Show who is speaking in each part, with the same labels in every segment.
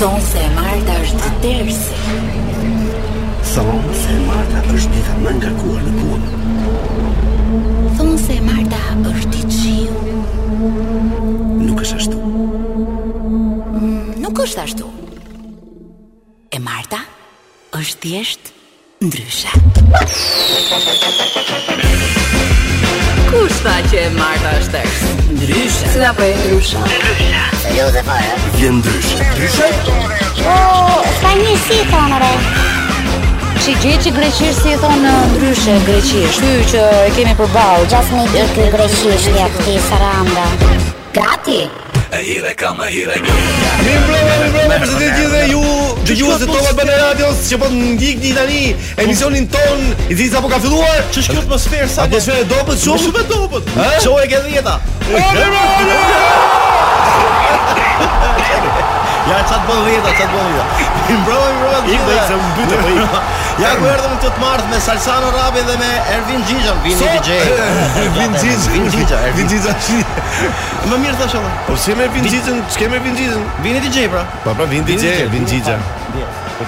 Speaker 1: Thonë se e Marta është të tërsi.
Speaker 2: Thonë se Marta është dita më nga kuar në punë.
Speaker 1: Thonë se e Marta është i qiu.
Speaker 2: Nuk është ashtu.
Speaker 1: Nuk është ashtu. E Marta është thjesht ndryshe.
Speaker 3: Kush tha që e Marta është tërës? Ndryshe.
Speaker 1: Si apo e ndryshe?
Speaker 2: Vjen ndrysh. Ndryshe?
Speaker 4: Ka një si e thonë re
Speaker 5: Që gjë që greqisht si e thonë ndryshe greqisht. Ky që e kemi përballë.
Speaker 4: Gjas me ditë kë greqisht ja këti saranda
Speaker 1: Gati!
Speaker 6: Mi mbrëmë, mi mbrëmë, përshëndetje gjithë dhe ju dëgjuesit tonë të Albana Radios që po ndjekni tani emisionin ton i cili
Speaker 7: po
Speaker 6: sapo ka filluar.
Speaker 7: Ç'është kjo atmosferë sa?
Speaker 6: Atmosferë e dobët
Speaker 7: Shumë
Speaker 6: shumë.
Speaker 7: shumë e dobët.
Speaker 6: Ha?
Speaker 7: Shohë e ke dhjeta.
Speaker 6: Ja çat bën dhjeta, çat bën dhjeta. Mi mbrëmë, mi mbrëmë.
Speaker 7: Ik dhe ik, se më mbytë, po ik.
Speaker 6: Ja ku erdhëm këtë të martë me Salsano Rabi dhe me Ervin Gjixhan, vini
Speaker 7: Sot-
Speaker 6: DJ.
Speaker 7: Vin Xhixha.
Speaker 6: Vin Gjixha, Ervin.
Speaker 7: Vinxhixa.
Speaker 6: Më mirë thash edhe.
Speaker 7: Po si me Vinxhixën, ç'ke me Vinxhixën?
Speaker 6: Vini DJ pra.
Speaker 7: Pa pra Vin DJ, Vinxhixa.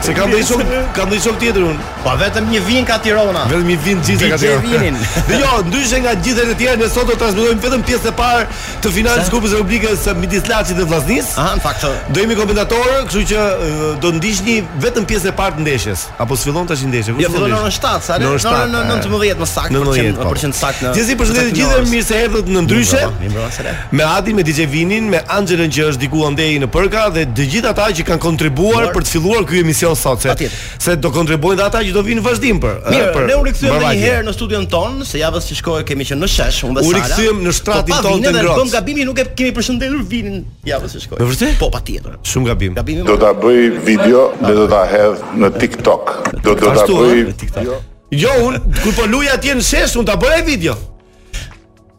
Speaker 7: Se kam ndonjë shok, kam ndonjë shok tjetër unë.
Speaker 6: Pa Po, vetëm një vin ka Tirana.
Speaker 7: Vetëm i Ah, vin gjithë ka
Speaker 6: DJ
Speaker 7: qenë.
Speaker 6: vinin.
Speaker 7: Dhe jo, ndryshe nga gjithë të tjerë, ne sot do të transmetojmë vetëm pjesën e parë të finalës së Kupës së Republikës së midis Laçit dhe Vllaznisë.
Speaker 6: Aha, në fakt.
Speaker 7: Do jemi komentatorë, kështu që ë, do ndiqni vetëm pjesën e parë të ndeshjes. Apo s'fillon tash ndeshja? Kur
Speaker 6: Jo, fillon në orën 7, sa ne?
Speaker 7: Në orën
Speaker 6: Në orën në-
Speaker 7: 7,
Speaker 6: në 19 më saktë,
Speaker 7: Në
Speaker 6: për
Speaker 7: 19,
Speaker 6: qenë-
Speaker 7: po.
Speaker 6: për qenë saktë në-
Speaker 7: Gjithsesi, si përshëndetje
Speaker 6: në
Speaker 7: të gjithëve,
Speaker 6: orës.
Speaker 7: mirë se erdhët në ndryshe.
Speaker 6: Mirë mbrëma, mirë mbrëma, sere.
Speaker 7: Me Adin, me DJ Vinin, me Anxhelën që është diku andej në Përka dhe të gjithë ata që kanë kontribuar
Speaker 6: Por-
Speaker 7: për të filluar ky emision sot, se,
Speaker 6: Patjetër.
Speaker 7: se do kontribuojnë dhe ata që do vinë në vazhdim për. ë,
Speaker 6: Mirë,
Speaker 7: për
Speaker 6: ne u rikthyem edhe
Speaker 7: mbarvajtje.
Speaker 6: një herë në studion ton, se javës që shkoi kemi qenë në shesh, unë dhe
Speaker 7: U
Speaker 6: Sara.
Speaker 7: rikthyem në shtratin
Speaker 6: Po, pa
Speaker 7: ton
Speaker 6: vinin
Speaker 7: të
Speaker 6: dhe
Speaker 7: ngrohtë.
Speaker 6: Bëm gabimin, nuk e kemi përshëndetur vinin javës që shkoi.
Speaker 7: Me vërtet?
Speaker 6: Po, patjetër.
Speaker 7: Shumë gabim.
Speaker 6: Gabimi
Speaker 8: Do ta bëj video dhe do ta hedh në TikTok. Do do ta
Speaker 7: Ashtu,
Speaker 8: bëj
Speaker 7: ha, në Jo, un kur po luaj atje në shesh, un ta bëra video.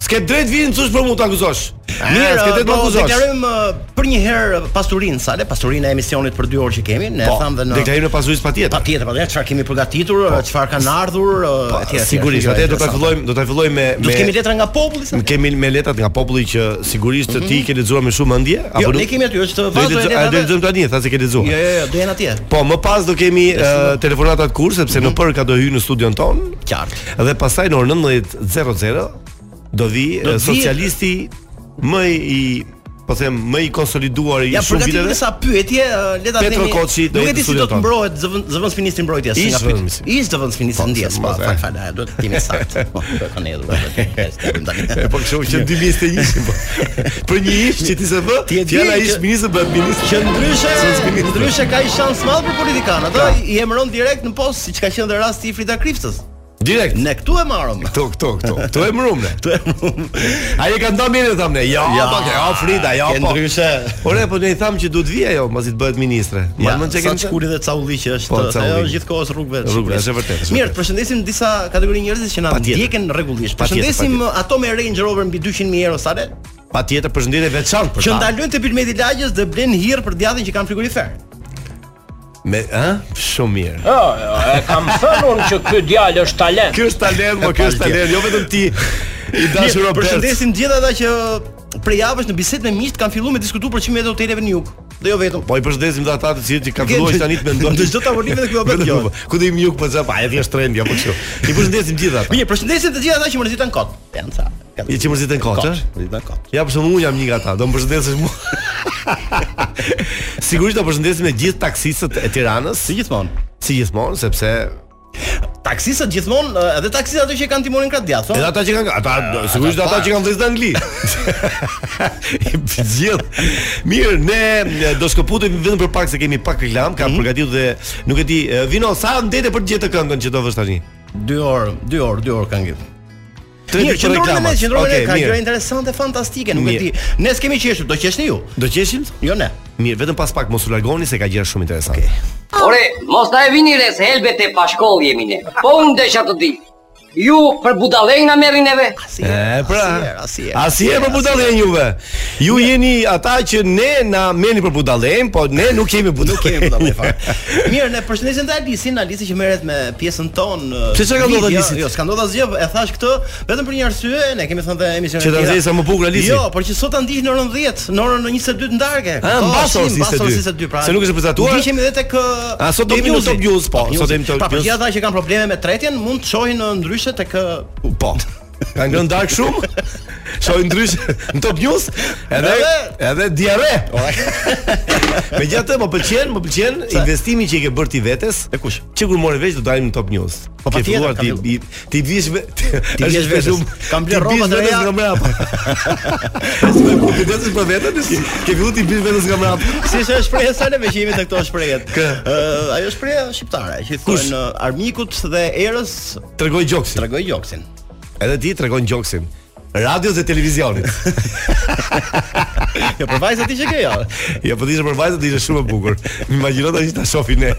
Speaker 7: S'ke drejt vin thosh për mua të akuzosh. Mirë, s'ke drejt të
Speaker 6: po,
Speaker 7: akuzosh.
Speaker 6: deklarojmë uh, për një herë pasurinë sale, pasurinë e emisionit për 2 orë që kemi, ne e
Speaker 7: Po,
Speaker 6: tham dhe në
Speaker 7: deklarim në pasurisë patjetër.
Speaker 6: patjetër, patjetër çfarë kemi përgatitur, çfarë kanë ardhur, uh, etj. etj.
Speaker 7: Po. Ah, Sigurisht,
Speaker 6: Gjëra
Speaker 7: atë do ta
Speaker 6: interesante.
Speaker 7: fillojmë, do ta fillojmë me
Speaker 6: Do të
Speaker 7: me
Speaker 6: jo, kemi letra nga populli sa?
Speaker 7: kemi me letrat nga populli që sigurisht ti i ke lexuar me shumë mendje apo
Speaker 6: Mhm. Jo,
Speaker 7: nuk?
Speaker 6: ne kemi aty, është
Speaker 7: Do i
Speaker 6: vazhdoj
Speaker 7: lexo- a do i lexojmë tani, tha se ke lexuar.
Speaker 6: Jo, jo, jo, do jenë atje.
Speaker 7: Po, më pas do kemi uh, telefonatat kur, sepse
Speaker 6: Mhm.
Speaker 7: në përka do hy në studion ton
Speaker 6: Qartë.
Speaker 7: dhe pastaj në orën 19:00 do vi
Speaker 6: Do
Speaker 7: eh,
Speaker 6: vi-
Speaker 7: socialisti më i po them më i konsoliduar i
Speaker 6: Ja
Speaker 7: shumë
Speaker 6: përgatitur
Speaker 7: viteve.
Speaker 6: disa pyetje, ë, le ta themi.
Speaker 7: Petro Koçi do
Speaker 6: nuk e
Speaker 7: jetë
Speaker 6: di si
Speaker 7: studio
Speaker 6: do të
Speaker 7: tonë.
Speaker 6: mbrohet zëvend- zëvendës ministri mbrojtjes
Speaker 7: Ish
Speaker 6: nga
Speaker 7: zëvendës
Speaker 6: pyetja.
Speaker 7: ministri.
Speaker 6: Ish zëvendës ministri
Speaker 7: Po,
Speaker 6: ndjes,
Speaker 7: se
Speaker 6: po,
Speaker 7: mos e.
Speaker 6: fal fal, a, duhet të jemi saktë. Po, do kanë hedhur.
Speaker 7: Po kështu që 2021 po. Për një ish që ti se vë,
Speaker 6: Ti e di
Speaker 7: fjala
Speaker 6: që-
Speaker 7: ish ministër bëhet ministër.
Speaker 6: Që ndryshe,
Speaker 7: ministri.
Speaker 6: ndryshe ka i shans madh për politikan. Ato i emëron direkt në post, siç ka qenë dhe rasti i Frida Kriftës.
Speaker 7: direkt.
Speaker 6: Ne këtu e marrëm.
Speaker 7: Këto, këto, këto. Këto e mërumne.
Speaker 6: Këtu e marrëm.
Speaker 7: Ai e ka ndarë mirë thamë ne. Jo,
Speaker 6: Ja.
Speaker 7: po, ke, jo Frida, jo
Speaker 6: Ke
Speaker 7: po.
Speaker 6: ndryshe.
Speaker 7: Ore, po ne i thamë që duhet vi ajo, masi të bëhet ministre.
Speaker 6: Ja,
Speaker 7: Ma më çka
Speaker 6: sa
Speaker 7: kemi.
Speaker 6: çkuri dhe caulli që është,
Speaker 7: Po,
Speaker 6: se ajo
Speaker 7: Caulli.
Speaker 6: është gjithkohës rrugëve. të
Speaker 7: Rrugëve,
Speaker 6: Shqipërisë.
Speaker 7: është e vërtetë, është e
Speaker 6: Mirë,
Speaker 7: vërtetë.
Speaker 6: përshëndesim disa kategori njerëzish që na
Speaker 7: Patjetër.
Speaker 6: ndjekin rregullisht.
Speaker 7: Patjetër,
Speaker 6: Përshëndesim ato me Range Rover mbi 200.000 euro sale,
Speaker 7: Patjetër përshëndetje veçantë për
Speaker 6: që
Speaker 7: ta.
Speaker 6: ndalojnë te Bilmeti Lagjës dhe blen hirë për djathtin që kanë frigorifer.
Speaker 7: Me, ë? Shumë mirë.
Speaker 9: Jo, jo, e kam thënë unë që ky djalë është talent.
Speaker 7: Ky është talent, po ky është talent, jo vetëm ti. I dashur
Speaker 6: Mirë,
Speaker 7: Robert.
Speaker 6: përshëndesim gjithë ata që prej javësh në bisedë me miqt kanë filluar me diskutuar për çmimet e hoteleve në jug. Dhe jo vetëm.
Speaker 7: Po i përshëndesim dhe ata të cilët që kanë filluar që tani të mendojnë.
Speaker 6: Në çdo tavolinë dhe kjo bëhet kjo.
Speaker 7: Ku do i mjuk po çfarë? Ai thjesht trend, jo po kështu. I përshëndesim gjithë ata.
Speaker 6: Mirë, përshëndesim të gjithë ata që mërziten kot. Janë sa.
Speaker 7: I që mërziten kot,
Speaker 6: Kot,
Speaker 7: ë?
Speaker 6: Mërziten kot.
Speaker 7: Ja për shembull unë jam një nga ata, do më përshëndesësh mua. Sigurisht do përshëndesim me gjithë taksistët e Tiranës,
Speaker 6: Si gjithmonë.
Speaker 7: si gjithmonë, sepse
Speaker 6: Taksistat gjithmonë, ë, edhe taksistat ato që kanë timonin krah djathtë.
Speaker 7: edhe ata që kanë, ata sigurisht
Speaker 6: ata
Speaker 7: ata
Speaker 6: pas.
Speaker 7: që kanë vëllezër në Angli. I për Gjithë. Mirë, ne ne do shkëputemi vetëm për pak se kemi pak reklam, kam përgatitur dhe nuk e di, e, Vino, sa ndete për të gjetë të këngën që do vësh tani?
Speaker 6: 2 orë, 2 orë, 2 orë kanë ngjitur.
Speaker 7: Tre
Speaker 6: Mirë,
Speaker 7: ditë për
Speaker 6: qëndroni me ne,
Speaker 7: reklamat.
Speaker 6: qëndroni me ne,
Speaker 7: Okej,
Speaker 6: ka
Speaker 7: mirë.
Speaker 6: gjëra interesante, fantastike, nuk e
Speaker 7: Mirë.
Speaker 6: di. Ne s'kemi qeshur, do qeshni ju.
Speaker 7: Do qeshim?
Speaker 6: Jo ne.
Speaker 7: Mirë, vetëm pas pak mos u largoni se ka gjëra shumë interesante.
Speaker 3: Ore, mos na e vini re se helbet e pashkoll jemi ne. Po unë desha të di.
Speaker 9: Ju për budallëng na merrin neve.
Speaker 7: E pra.
Speaker 6: asnjëherë.
Speaker 7: Asnjëherë po për budallën juve. Ju jeni ata që ne na merrni për budallën, po ne nuk kemi
Speaker 6: Nuk
Speaker 7: budallën.
Speaker 6: kemi budallë fare. Mirë, ne përshëndesim të Alisin, Alisi që merret me pjesën tonë.
Speaker 7: Pse çka ka ndodhur
Speaker 6: video.
Speaker 7: Alisit?
Speaker 6: Jo, s'ka ndodhur asgjë, e thash këtë vetëm për një arsye, ne kemi thënë te emisionet.
Speaker 7: Që ta
Speaker 6: tjera.
Speaker 7: nxjerrë sa më bukur Alisi.
Speaker 6: Jo, por që sot ta ndiq në orën 10, në orën 22 të ndarke.
Speaker 7: Ah,
Speaker 6: Po,
Speaker 7: mbas orës
Speaker 6: shim, mbas
Speaker 7: 22.
Speaker 6: 22, pra.
Speaker 7: Se nuk është përcaktuar?
Speaker 6: Ndiqemi edhe tek eh,
Speaker 7: A, sot do news, top news, po, sot
Speaker 6: Sot
Speaker 7: jemi top
Speaker 6: Pa, për
Speaker 7: news.
Speaker 6: gjithë ata që kanë probleme me tretjen, mund të shohin në ndryshe tek eh, ë,
Speaker 7: Po. Ka ngrënë dark shumë. Shoj ndrysh në Top News, edhe edhe diare. Megjithatë, më pëlqen, më pëlqen investimi që i ke bërë ti vetes. E kush? Që kur morë veç do dalim në Top News. Po
Speaker 6: patjetër,
Speaker 7: filluar ti
Speaker 6: kam filluar.
Speaker 7: i- ti vish ve- ti
Speaker 6: vjesh vetes. Kam bler rrobat e reja.
Speaker 7: nga mbrapa. S'me ku ti vetes për veten? Ke filluar ti vish vetes nga mbrapa.
Speaker 6: Si është shpreha sa ne që jemi te këto shprehjet.
Speaker 7: Kë?
Speaker 6: Ë, ajo shprehja shqiptare që
Speaker 7: Kush?
Speaker 6: thonë ë, armikut dhe erës
Speaker 7: Tregoj gjoksin.
Speaker 6: tregoj gjoksin.
Speaker 7: Edhe ti tregon gjoksin. Radios dhe televizionit.
Speaker 6: Jo për vajzat ti që ke jo.
Speaker 7: Jo, po dishte për vajzat ishte shumë e bukur. Më imagjino tani që ta shohin ne.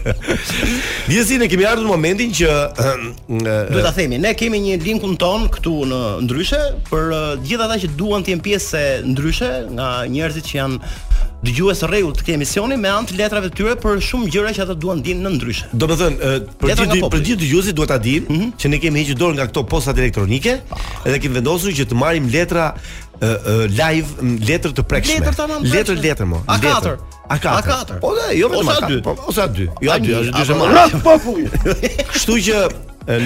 Speaker 7: Gjithsesi ne kemi ardhur në momentin që
Speaker 6: Duhet ta themi, ne kemi një linkun ton këtu në ndryshe për ë, gjithë ata që duan të jenë pjesë e ndryshe nga njerëzit që janë dëgjues rregullt të këtij emisioni me anë të letrave të tyre për shumë gjëra që ata duan dinë në ndryshe.
Speaker 7: Do të thënë, ë, për
Speaker 6: Letra nga
Speaker 7: gjithë për
Speaker 6: populli.
Speaker 7: gjithë dëgjuesit duhet ta dinë që ne kemi hequr dorë nga këto postat elektronike edhe kemi vendosur që të marrim letra ë, ë, live, m, letër të prekshme.
Speaker 6: Letër tamam prekshme.
Speaker 7: Letër letër mo.
Speaker 6: A4.
Speaker 7: letër. A4.
Speaker 6: A4.
Speaker 7: Po dhe, jo vetëm
Speaker 6: Ose A po,
Speaker 7: A4.
Speaker 6: dy.
Speaker 7: po, Ose A2. Jo A2,
Speaker 6: një,
Speaker 7: është dy
Speaker 6: apo-
Speaker 7: më. Kështu që ë,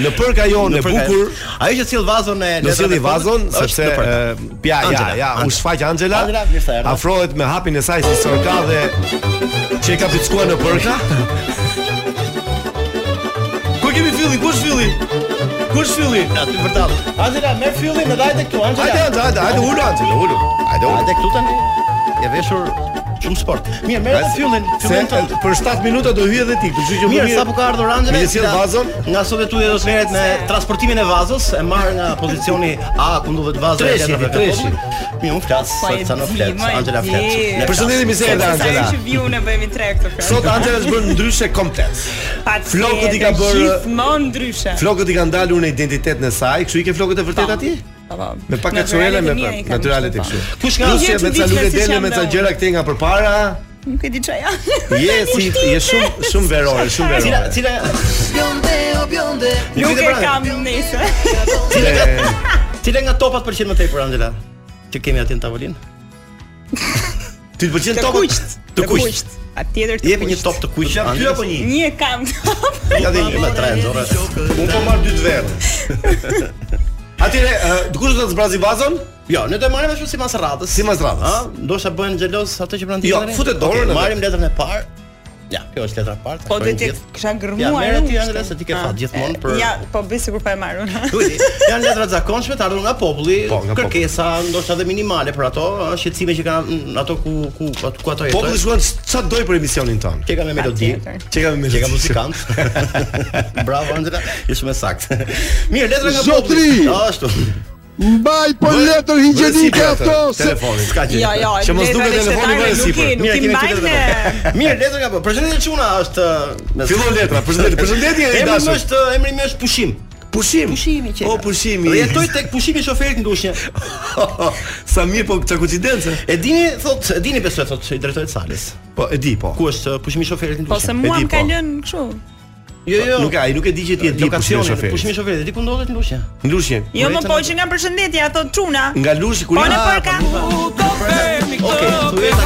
Speaker 7: në përka jonë e
Speaker 6: Për-
Speaker 7: bukur
Speaker 6: Ajo që sill vazon e
Speaker 7: Në
Speaker 6: letrave
Speaker 7: sjelli
Speaker 6: të
Speaker 7: vazon
Speaker 6: fundit, është
Speaker 7: sepse
Speaker 6: në përka.
Speaker 7: e, ja ja
Speaker 6: Angela,
Speaker 7: ja u
Speaker 6: Angela.
Speaker 7: shfaq Angela.
Speaker 6: Angela, mirë se erdhe.
Speaker 7: Afrohet me hapin e saj si sorka dhe që e ka pickuar në përka. Ku kemi filli? Kush filli? Kush filli?
Speaker 6: Aty vërtet. Angela, merr fyllin dhe dajte këtu, Angela.
Speaker 7: Hajde Angela, hajde, hajde ulu Angela, ulu. Hajde ulu.
Speaker 6: Hajde këtu tani. Je veshur shumë sport. Mirë, merr
Speaker 7: Hajde.
Speaker 6: atë fyllin,
Speaker 7: Se
Speaker 6: fyllin tonë.
Speaker 7: për 7 minuta do hyje edhe ti, kështu që po më
Speaker 6: Mirë, sapo ka ardhur Angela.
Speaker 7: Me sjell
Speaker 6: nga-
Speaker 7: vazon?
Speaker 6: Nga sot e tu do të merret me transportimin e vazës, e marr nga pozicioni A ku ndodhet vaza
Speaker 7: Treshi,
Speaker 6: letrave të
Speaker 7: treshi.
Speaker 6: popullit. Mirë, unë flas, sot sa në flet, Angela flet. Ne
Speaker 7: Përshëndetje mi se erdhe
Speaker 6: Sa
Speaker 7: Angela.
Speaker 10: Që viu në bëjmë i trek të kërë
Speaker 7: Sot Angela është bërë ndryshe komplet. Flokët i ka bërë
Speaker 10: Gjithmonë ndryshe
Speaker 7: Flokët i kanë dalur në identitetin e saj, kështu i ke flokët e
Speaker 6: Po.
Speaker 7: vërtet aty?
Speaker 10: Po,
Speaker 7: Me pak kaçuela me
Speaker 10: mia i kam
Speaker 7: natyrale tek
Speaker 10: kështu, po.
Speaker 7: kështu.
Speaker 6: Kush ka-
Speaker 7: Plus
Speaker 10: Jo,
Speaker 7: që
Speaker 10: të
Speaker 7: me ca
Speaker 10: ditë
Speaker 7: lule
Speaker 10: se
Speaker 7: dele
Speaker 10: jam
Speaker 7: me ca
Speaker 10: dhe
Speaker 7: gjëra këtej nga përpara,
Speaker 10: Nuk e di çaj janë
Speaker 7: je si je shumë shumë verore, shumë
Speaker 6: Cila
Speaker 7: verore.
Speaker 6: cila
Speaker 10: Nuk
Speaker 6: vite
Speaker 10: e
Speaker 6: pranë.
Speaker 10: kam
Speaker 7: pra-
Speaker 10: nese
Speaker 6: cila cila nga topat pëlqen më tepër Angela? Që kemi aty në tavolinë?
Speaker 7: Ti të pëlqen
Speaker 10: Të
Speaker 7: topat?
Speaker 10: kuqt
Speaker 7: Të kuqt.
Speaker 10: A tjetër të
Speaker 6: Jepi një top të kuq.
Speaker 7: Jam ty
Speaker 6: Angela.
Speaker 7: apo një?
Speaker 10: Një kam
Speaker 7: Ja dhe një
Speaker 6: Me tre nxorre.
Speaker 7: Un po marr dy të verdh. Atëre, ë, kush do të zbrazi vazon?
Speaker 6: Jo, ne do e marrim ashtu sipas rradhës.
Speaker 7: Sipas radhës.
Speaker 6: A, ndoshta bëhen xhelos ato që pranë
Speaker 7: Jo,
Speaker 6: tjetrit?
Speaker 7: futet dorën
Speaker 6: Okej,
Speaker 7: edhe.
Speaker 6: Marrim letrën e parë. Ja, kjo është letra e parë.
Speaker 10: Po do
Speaker 6: takojnë
Speaker 10: të
Speaker 6: gjithë.
Speaker 10: kisha gërmuar
Speaker 6: Ja, merre
Speaker 10: unë,
Speaker 6: ti, Angela,
Speaker 10: kështu.
Speaker 6: se ti ke
Speaker 10: Ah,
Speaker 6: fat gjithmonë
Speaker 10: e,
Speaker 6: për-
Speaker 10: Ja, po bëj sikur po e marr unë.
Speaker 6: Kujti, janë letra të zakonshme të ardhur nga populli,
Speaker 7: Po, nga populli.
Speaker 6: kërkesa ndoshta edhe minimale për ato, ë, shqetësime që kanë mm, ato ku ku ato- ku ato
Speaker 7: Populli
Speaker 6: jetojnë.
Speaker 7: Po, shkruan ç'a doj për emisionin ton.
Speaker 6: Që ka me melodi,
Speaker 10: Patjetër.
Speaker 7: Çe kemi me
Speaker 6: që ka muzikant. Bravo Angela, je shumë e saktë. Mirë, letra nga
Speaker 2: Zotri!
Speaker 6: populli. Ashtu.
Speaker 2: Mbaj po letër higjienike ato se
Speaker 7: telefonin.
Speaker 6: S'ka gjë.
Speaker 10: Jo, jo,
Speaker 7: Që mos
Speaker 10: letra
Speaker 7: duket
Speaker 10: dhe
Speaker 7: telefoni,
Speaker 10: qytetarëve
Speaker 7: bëre
Speaker 10: nuk i-
Speaker 7: sipër.
Speaker 10: Nuk i
Speaker 6: kemi
Speaker 10: mbajnë
Speaker 6: tjetër vetëm. Mirë, letra nga populli. Përshëndetje Çuna është ë, me-
Speaker 7: Fillon letra, përshëndetje, përshëndetje i
Speaker 6: Emri më
Speaker 7: dashur.
Speaker 6: është emri më është pushim.
Speaker 7: Pushim.
Speaker 10: Pushimi që-
Speaker 7: O pushimi.
Speaker 6: Dhe jetoj tek pushimi i shoferit ndushnje.
Speaker 7: Sa mirë po çka koincidencë.
Speaker 6: E dini thot, e dini besoj thot i drejtohet Salis.
Speaker 7: Po e di po.
Speaker 6: Ku është uh, pushimi i shoferit
Speaker 10: Po se
Speaker 6: ndushnje?
Speaker 10: mua
Speaker 7: di,
Speaker 10: më ka
Speaker 7: po.
Speaker 10: lënë kështu.
Speaker 6: Jo, jo.
Speaker 7: Nuk ai nuk e di që ti e di pushimi
Speaker 6: lokacioni,
Speaker 7: shoferit.
Speaker 6: pushimi i shoferit, e di ku ndodhet ndushnje.
Speaker 7: Ndrushjen.
Speaker 10: Jo më
Speaker 6: Kurrejtë
Speaker 10: po
Speaker 6: në-
Speaker 10: që nga përshëndetja thot çuna.
Speaker 7: Nga Lushi kur
Speaker 10: Po
Speaker 7: i-
Speaker 10: në
Speaker 7: Ah,
Speaker 10: përka.
Speaker 6: Okej, thuaj ta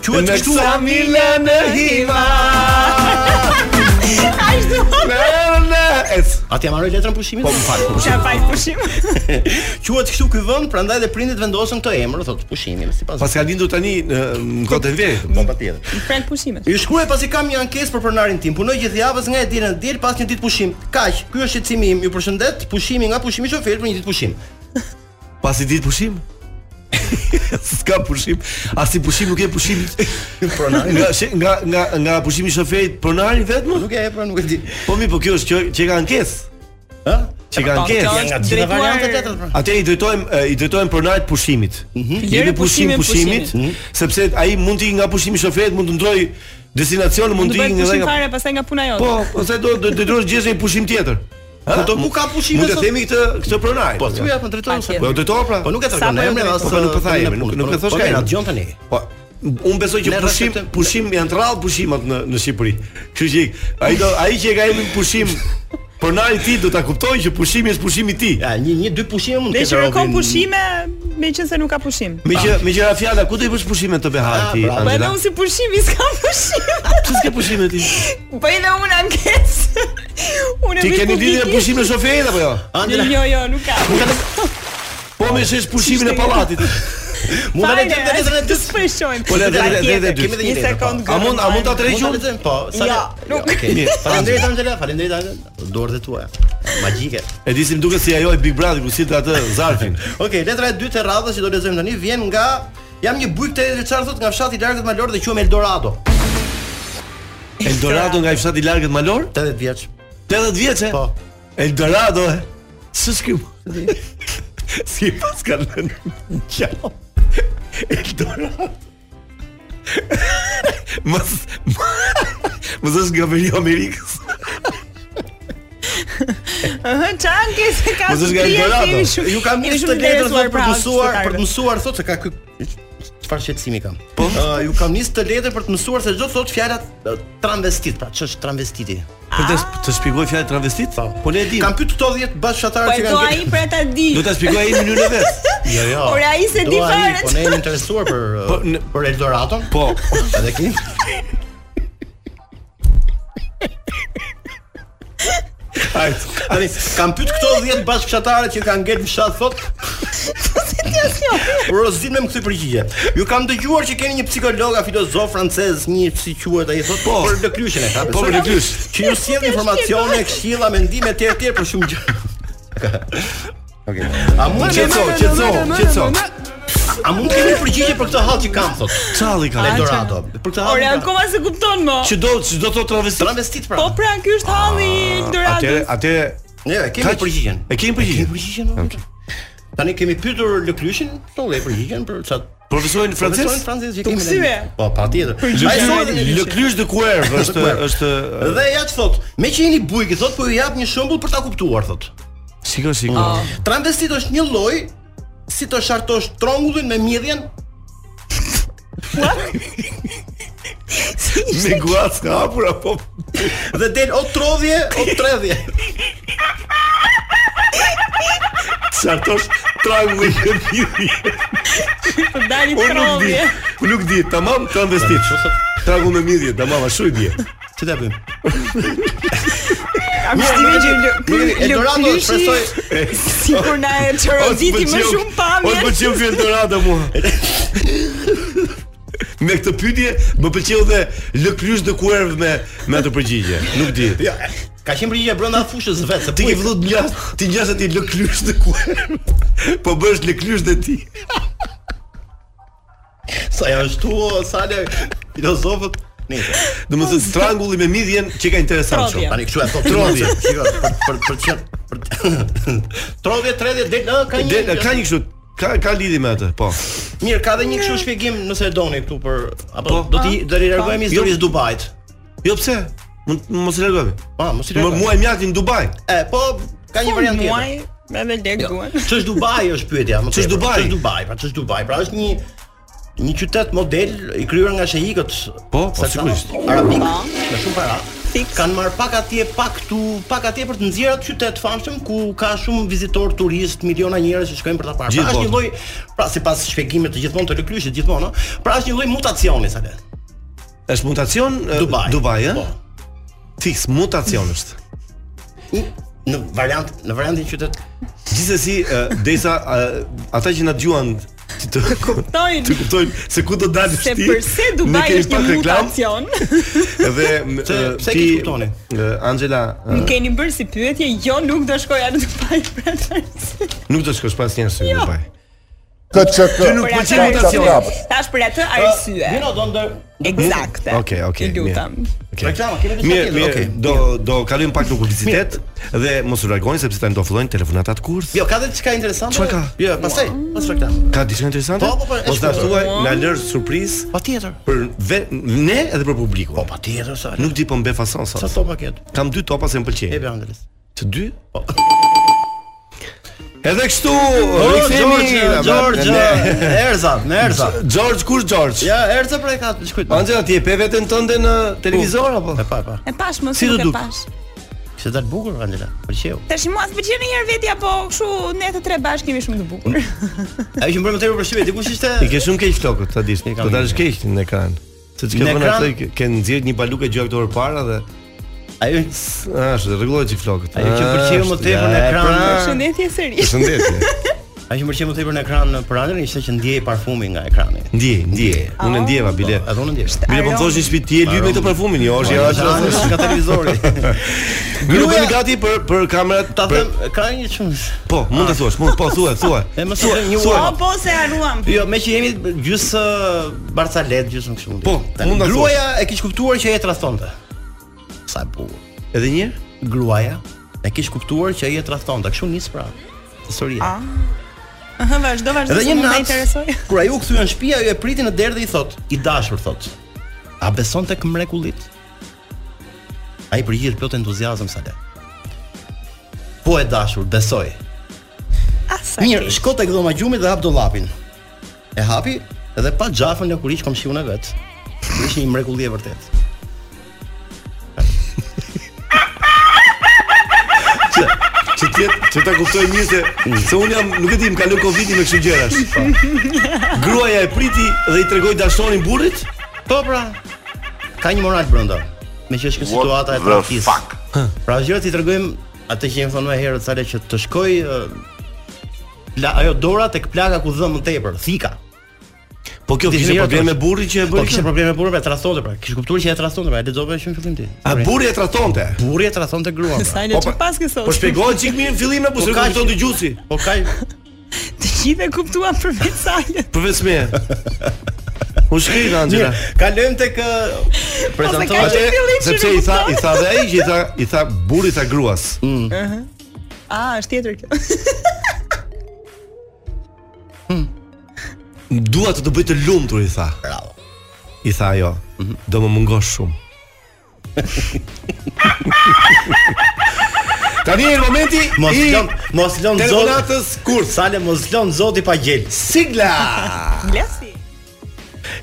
Speaker 6: kemi. Quhet
Speaker 7: Në
Speaker 6: kështu
Speaker 7: kësa po. mila në hima
Speaker 10: Ashtu.
Speaker 7: Në në Es-
Speaker 6: A ti marrë letrën pushimit? Po, më fal.
Speaker 10: Çfarë fal pushim?
Speaker 6: Quhet kështu ky vend, prandaj dhe prindit vendosën këtë emër, thot pushimi, sipas.
Speaker 7: Pas ka lindur tani në në kote verit
Speaker 6: Po, patjetër.
Speaker 10: Pran pushimet.
Speaker 6: Ju shkruaj pasi kam një ankesë për pronarin tim. Punoj gjithë javës nga e dielën në diel pas një ditë pushim. Kaq, ky është shqetësimi im. Ju përshëndet. Pushimi nga pushimi i shoferit për një ditë pushim.
Speaker 7: Pas i ditë pushim S'ka pushim As i pushim nuk e pushim Nga, she- nga, nga, nga pushimi i shoferit Pronari vetëm
Speaker 6: Nuk e pra, nuk e di.
Speaker 7: Po mi po kjo është që, që ka ankes
Speaker 6: Ë?
Speaker 7: Që ka ankes
Speaker 10: kjo është
Speaker 6: Gjitha
Speaker 10: drejtuar-
Speaker 6: variantet letra pra.
Speaker 7: Atë i drejtojmë e, i drejtojmë pronarit pushimit. Mm
Speaker 10: Lëre pushimin pushimit. Mhm.
Speaker 7: sepse ai mund të ikë nga pushimi i shoferit, mund të ndroj destinacion mund të ikë
Speaker 10: nga fare pastaj nga puna jote.
Speaker 7: Po, ose do do të duhet gjesh një pushim tjetër.
Speaker 6: Po do ku ka pushime
Speaker 7: sot? Mund të themi këtë këtë pronar.
Speaker 6: Po thuaj apo drejton se.
Speaker 7: Po drejton pra.
Speaker 6: Po nuk e tregon emrin as.
Speaker 7: Po nuk e tha emrin, nuk nuk e thosh
Speaker 6: ka. Po na dëgjon tani.
Speaker 7: Po Unë besoj që pushim, pushim janë rrallë pushimat në në Shqipëri. Kështu që ai do ai që e ka emrin pushim Pronari i ti do ta kuptojë që pushimi është pushimi i ti.
Speaker 6: Ja, një një dy pushime mund të
Speaker 10: ketë. Ne kërkojmë pushime, meqense nuk ka pushim.
Speaker 7: Me që me qira fjala ku do i bësh pushime të behaj ti?
Speaker 10: Po edhe unë si pushimi s'kam pushim.
Speaker 7: Ç'u s'ke pushime ti?
Speaker 10: Po edhe unë ankesë. Unë
Speaker 7: Ti keni lidhje pushim në shoferit apo jo?
Speaker 10: Andra. Jo, jo, nuk ka.
Speaker 7: Po më shesh pushimin e pallatit.
Speaker 6: Mund ta lexojmë
Speaker 10: të letrën e dy. Po e shohim.
Speaker 7: Po letra e dytë.
Speaker 10: Kemi një sekond.
Speaker 7: A mund a mund ta tregjon?
Speaker 6: Po,
Speaker 10: sa. Ja, nuk.
Speaker 6: Okej. Faleminderit Angela, faleminderit Angela. Dorët e tuaja. Magjike.
Speaker 7: E di si më duket si ajo e Big Brother ku sillte atë zarfin.
Speaker 6: Okej, letra e dytë e radhës që do lexojmë tani vjen nga jam një bujk te Richard thot nga fshati i largët malor dhe quhem Eldorado.
Speaker 7: Eldorado nga fshati i largët malor?
Speaker 6: 80 vjeç.
Speaker 7: 80 vjeç?
Speaker 6: Po.
Speaker 7: Eldorado. S'skim. Si pas ka lënë Ciao Eldorado Mos Mos është gaveri Amerikës
Speaker 10: Ëh, çanke se ka.
Speaker 7: Mos është nga Eldorado.
Speaker 6: Ju kam mirë të letrën për
Speaker 10: pra
Speaker 6: të mësuar, për të mësuar thotë se ka ky pra, çfarë shqetësimi kam. Po, ju kam nisë të letrën për të mësuar se çdo thotë fjalat transvestit, pra ç'është transvestiti.
Speaker 7: Për të të shpjegoj fjalën travestit? Po.
Speaker 6: Po ne e dim.
Speaker 7: Kam pyet këto 10 bashkëtarë
Speaker 10: që kanë. Po ai pra ta di.
Speaker 7: Do ta shpjegoj ai në mënyrën e vet.
Speaker 6: Jo, jo.
Speaker 10: Por ai se di fare.
Speaker 6: Po ne jemi interesuar për po, në... për Eldoraton.
Speaker 7: Po.
Speaker 6: Edhe kim.
Speaker 7: Ai,
Speaker 6: tani kam pyet këto 10 bashkëshatarë që kanë ngel fshat thot. Rozin më këtë përgjigje. Ju kam dëgjuar që keni një psikolog, filozof francez, një si quhet ai thot po, për lëklyshën e ka.
Speaker 7: Po për lëklysh.
Speaker 6: Që ju sjell informacione, këshilla, mendime të tjerë për shumë gjëra. Okej. A mund të
Speaker 7: qetso, qetso, qetso.
Speaker 6: A mund të kemi përgjigje për këtë hall që kam thot?
Speaker 7: Çalli ka
Speaker 6: Eldorado. Për këtë
Speaker 10: hall. Ora akoma se kupton më.
Speaker 7: Çdo çdo thot travestit.
Speaker 6: Travestit pra.
Speaker 10: Po pra, ky është halli Eldorado.
Speaker 7: Ah, Atëre, atëre
Speaker 6: Ne kemi përgjigjen.
Speaker 7: E kemi përgjigjen.
Speaker 6: Kemi përgjigjen. Okej. Tani kemi pyetur Lëkryshin, thonë përgjigjen për çat
Speaker 7: Profesorin francez?
Speaker 6: Profesorin francez që
Speaker 10: kemi. Tëmësime.
Speaker 6: Po, patjetër.
Speaker 7: Ai thonë Lëkrysh de Cuerve është është
Speaker 6: Dhe ja thot, me që jeni bujk, thot po ju jap një shembull për ta kuptuar thot.
Speaker 7: Sigur, sigur.
Speaker 6: Transvestit është një lloj si të shartosh trongullin me mjedhjen?
Speaker 7: me guac ka hapur apo
Speaker 6: dhe del o trodhje o tredhje.
Speaker 7: Shartosh trongullin me mjedhjen.
Speaker 10: Të dali trodhje.
Speaker 7: Unë nuk di, tamam transvestit. Tragu me mjedhje, tamam ashtu i bie.
Speaker 6: Ç'i ta bëjmë?
Speaker 10: A më shtimi që
Speaker 6: Eldorado shpresoj
Speaker 10: sikur na e çoroziti më shumë pamje.
Speaker 7: Ose pëlqeu ky Eldorado mua. Me këtë pyetje më pëlqeu dhe lëkrysh dhe kuerv me me atë përgjigje. Nuk di.
Speaker 6: Ja, Jo, ka qenë përgjigje brenda fushës vetë.
Speaker 7: Ti ke vëllut ngjas, ti ngjas aty lëkrysh dhe kuerv. Po bësh lëkrysh dhe ti.
Speaker 6: Sa janë shtu, sa le filozofët Nice.
Speaker 7: Domethënë strangulli me midhjen që ka interesant
Speaker 10: shumë.
Speaker 6: Tani kështu e thot Trodhje. Shikoj, për për çfarë për Trodhje 30 del ka një
Speaker 7: del ka një kështu ka ka lidhje me atë, po.
Speaker 6: Mirë, ka edhe një kështu shpjegim nëse e doni këtu për apo do ti do i largohemi historisë Dubait.
Speaker 7: Jo pse? Mos i largohemi.
Speaker 6: Po, mos i largohemi.
Speaker 7: Muaj mjati në Dubai.
Speaker 6: E, po ka një variant tjetër.
Speaker 10: Muaj me me
Speaker 7: Jo.
Speaker 10: larguan.
Speaker 6: Ç'është Dubai është pyetja, më
Speaker 7: Ç'është Dubai?
Speaker 6: Ç'është Dubai? Pra ç'është Dubai? Pra është një një qytet model i krijuar nga sheikët.
Speaker 7: Po, po sigurisht.
Speaker 6: Arabik, me shumë para. Kanë marr pak atje, pak këtu, pak atje për të nxjerrë atë qytet famshëm ku ka shumë vizitor, turist, miliona njerëz që shkojnë për ta parë. Pra është një lloj, pra sipas shpjegimeve të gjithmonë të lëkryshit gjithmonë, ëh, pra është një lloj mutacioni sa le.
Speaker 7: Është mutacion
Speaker 6: Dubai,
Speaker 7: Dubai ëh?
Speaker 6: Po.
Speaker 7: Fix mutacion është.
Speaker 6: Në variant, në variantin qytet.
Speaker 7: Gjithsesi, derisa ata që na dëgjuan
Speaker 10: Ti të kuptojnë.
Speaker 7: Të kuptojnë se ku do dalësh ti.
Speaker 10: Se përse Dubai është një mutacion.
Speaker 7: Dhe
Speaker 6: pse pse ti kuptoni?
Speaker 7: Angela,
Speaker 10: më keni bërë si pyetje, jo nuk do shkoja në Dubai për
Speaker 7: Nuk do shkosh pas njerëz
Speaker 6: Jo.
Speaker 7: në Dubai.
Speaker 11: KCK.
Speaker 7: Ty nuk pëlqen mutacioni. Ah,
Speaker 10: Tash për atë arsye.
Speaker 6: Jo, do ndër.
Speaker 10: Eksakte.
Speaker 7: Okej, okej.
Speaker 10: Ju lutem.
Speaker 6: Reklama, kemi diçka
Speaker 7: Mirë,
Speaker 6: tjetër.
Speaker 7: mirë,
Speaker 6: Okej.
Speaker 7: do do kalojmë pak në publicitet dhe mos u largoni sepse tani do fillojnë telefonatat kurth.
Speaker 6: Jo, ka dhe diçka interesante.
Speaker 7: Çfarë ka?
Speaker 6: Jo, pastaj, pas reklam.
Speaker 7: Ka diçka interesante?
Speaker 6: Po, po, po, e
Speaker 7: Mos na
Speaker 6: shkruaj.
Speaker 7: thuaj, na lër surprizë
Speaker 6: Patjetër.
Speaker 7: për ve, ne edhe për publikun. Po,
Speaker 6: patjetër sa.
Speaker 7: Nuk di po mbe fason sot.
Speaker 6: Sa topa ket?
Speaker 7: Kam dy topa se më
Speaker 6: E
Speaker 7: pëlqejnë.
Speaker 6: be Angeles.
Speaker 7: Të dy?
Speaker 6: Po.
Speaker 7: Edhe kështu,
Speaker 6: Oh, Gjorgja, Gjorgja, Erza, me Erza.
Speaker 7: George kur George?
Speaker 6: Ja, Erza pra e ka shkruajt.
Speaker 7: Angela ti e pe veten tënde në televizor apo?
Speaker 6: E pa, e pa.
Speaker 10: E pash më
Speaker 7: Si
Speaker 10: si
Speaker 7: do
Speaker 10: nuk e
Speaker 7: duk?
Speaker 10: pash.
Speaker 6: Kishte dal bukur Angela, pëlqeu.
Speaker 10: Tash mua s'pëlqen një herë vetja, po kështu ne të tre bashkë jemi shumë të bukur.
Speaker 6: Ajo që më bërë më tepër për shtypje, dikush ishte
Speaker 7: I ke shumë keq flokët, ta dish.
Speaker 6: kam
Speaker 7: Do dalësh keq në ekran. Se çka
Speaker 6: Në
Speaker 7: vënë
Speaker 6: ekran?
Speaker 7: atë ke- ke nxjerr një balukë gjë këtu para dhe
Speaker 6: ajo
Speaker 7: Ah, është rregullohet çik flokët.
Speaker 6: Ajo që pëlqeu më
Speaker 7: Ashtë,
Speaker 6: tepër në
Speaker 7: ja, e
Speaker 6: ekran.
Speaker 7: pra.
Speaker 10: Përshëndetje sërish.
Speaker 7: Përshëndetje.
Speaker 6: ajo që më pëlqeu më tepër në ekran për Angelën ishte që ndjej parfumin nga ekrani. Po,
Speaker 7: Ndje, ndje. Unë ndjeva bile.
Speaker 6: Edhe unë ndjej.
Speaker 7: Bile po më thosh një shtëpi ti e lyp me këtë parfumin, jo, është ja.
Speaker 6: Angela është nga televizori.
Speaker 7: Mirë, po jemi gati për për kamerat.
Speaker 6: Ta
Speaker 7: për-
Speaker 6: them, ka një çuns.
Speaker 7: Po, mund të thuash, mund po thuaj, thuaj.
Speaker 6: E mos e them një
Speaker 10: Po,
Speaker 6: uaj.
Speaker 10: po se haruam.
Speaker 6: Jo, me që jemi gjysë ë, Barcalet, gjysë në kështu mundi.
Speaker 7: Po, mund ta thuash.
Speaker 6: gruaja e kish kuptuar që e tradhtonte. Sa e bukur.
Speaker 7: Edhe një herë?
Speaker 6: Gruaja e kish kuptuar që e tradhtonte. Kështu nis pra. Historia.
Speaker 10: Aha, vazhdo, vazhdo.
Speaker 6: Edhe
Speaker 10: se
Speaker 6: një
Speaker 10: mua Ah, më interesoi.
Speaker 6: natë, kur ajo u kthye në shtëpi, ajo e priti në derë dhe i thot, i dashur thot. A beson tek mrekullit? Ai përgjigjet plot entuziazëm sa le. Po e dashur, besoj.
Speaker 7: Ah,
Speaker 10: Asa.
Speaker 6: Mirë, shko tek dhoma gjumit dhe hap dollapin. E hapi dhe pa xhafën në kuriç komshiun e vet. Ishte një mrekulli e vërtet.
Speaker 7: Që ti që ta kuptoj mirë se se un jam nuk e di, më kalon Covidi me kështu gjërash. Gruaja e priti dhe i tregoi dashorin burrit?
Speaker 6: Po pra, ka një moral brenda. Me që është kjo
Speaker 8: What
Speaker 6: situata e
Speaker 8: the
Speaker 6: traktis.
Speaker 8: fuck?
Speaker 6: Pra gjërat i tregojmë atë që jemi thonë më herët sa le që të shkoj ë, pla, ajo dora tek plaka ku dhëmë më tepër, thika.
Speaker 7: Po kjo
Speaker 6: Ti
Speaker 7: kishte
Speaker 6: mirë,
Speaker 7: problem me
Speaker 6: tash.
Speaker 7: burrin që e
Speaker 6: Po
Speaker 7: bëri.
Speaker 6: kishte
Speaker 7: këtë?
Speaker 6: probleme burrë me trastonte pra. Kish kuptuar që e trastonte pra, e lexova që në fillim ti.
Speaker 7: A burri e tratonte?
Speaker 6: burri e trastonte gruan. pra.
Speaker 10: Sajle që pas kësot.
Speaker 7: Po shpjegohet çik mirë në fillim apo se
Speaker 6: Po ka
Speaker 7: kupton
Speaker 6: që-
Speaker 7: dëgjuesi?
Speaker 6: Po ka
Speaker 10: Të gjithë e kuptuam për vetë sajle.
Speaker 7: Përveç me. U shkrit Angela.
Speaker 6: kalojmë tek ë,
Speaker 10: ka
Speaker 6: prezantohet.
Speaker 10: që
Speaker 7: Atë
Speaker 10: fillim që
Speaker 7: sepse i
Speaker 10: nuk
Speaker 7: tha i
Speaker 10: kupton.
Speaker 7: tha dhe ai që i tha i tha burri tha gruas.
Speaker 10: A, është tjetër kjo.
Speaker 7: Dua të të bëj të lumtur i tha.
Speaker 6: Bravo.
Speaker 7: I tha ajo. Do më mungosh shumë. Tani është momenti
Speaker 6: Mos
Speaker 7: i
Speaker 6: lëm, mos lëm zot.
Speaker 7: telefonatës kurth.
Speaker 6: Sale mos lëm zoti pa gjel.
Speaker 7: Sigla.
Speaker 10: Blasi.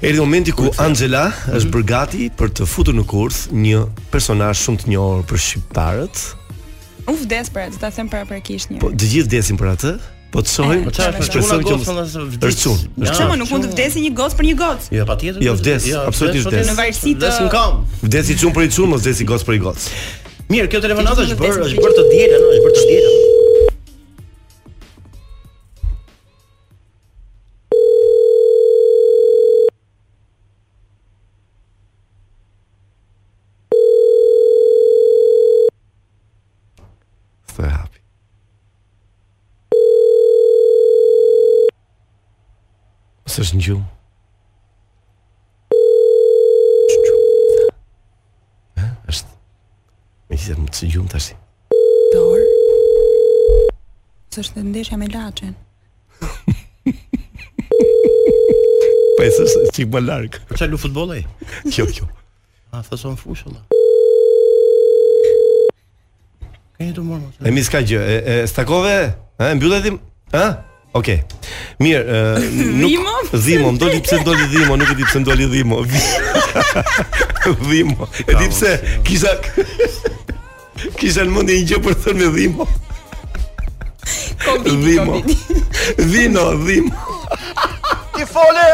Speaker 7: Erdhi momenti ku Angela është bërë gati për të futur në kurth një personazh shumë të njohur për shqiptarët.
Speaker 10: U vdes pra, do ta them para parkisht një.
Speaker 7: Po të gjithë vdesin për atë, po të shohim.
Speaker 10: Po çfarë,
Speaker 6: është
Speaker 7: shpresojmë
Speaker 6: çuna
Speaker 7: që
Speaker 6: gocë,
Speaker 7: mos-
Speaker 6: thonë, është
Speaker 7: Është çun.
Speaker 6: vdes.
Speaker 7: Është
Speaker 10: Pse
Speaker 7: çun.
Speaker 10: Po, më nuk mund të vdesi një gocë për një gocë?
Speaker 6: Jo, patjetër.
Speaker 7: Jo, vdes, absolutisht vdes.
Speaker 10: Në varësi të-
Speaker 6: Vdes nuk kam.
Speaker 7: Vdesi çun për i çun, mos vdesi gocë për i gocë.
Speaker 6: Mirë, kjo telefonat është
Speaker 10: Vdes
Speaker 6: bërë,
Speaker 10: nuk
Speaker 6: është bërë të dielën, është bërë të dielën.
Speaker 7: Thë hapi. Së është në gjumë. Ha, Eh, është. Me që më të gjumë tash.
Speaker 10: Dor. S'është ndeshja me laçen.
Speaker 7: Po e sështë çik më larg.
Speaker 6: Për çfarë lu futbolli?
Speaker 7: Jo, jo.
Speaker 6: A fason fushë valla. Keni të morë.
Speaker 7: E mi s'ka gjë. E, e stakove? Ha, e mbyllë dhim? Ha? Okej. Mirë, e, nuk
Speaker 10: Dhimo?
Speaker 7: dhimo, më doli pse doli dhimo, nuk e di pse doli dhimo. dhimo. E di pse kisha kisha në mendje një gjë për të thënë me dhimo.
Speaker 10: Covid,
Speaker 7: Dhimo.
Speaker 10: Covid.
Speaker 7: Dhino, dhimo. Ti fole.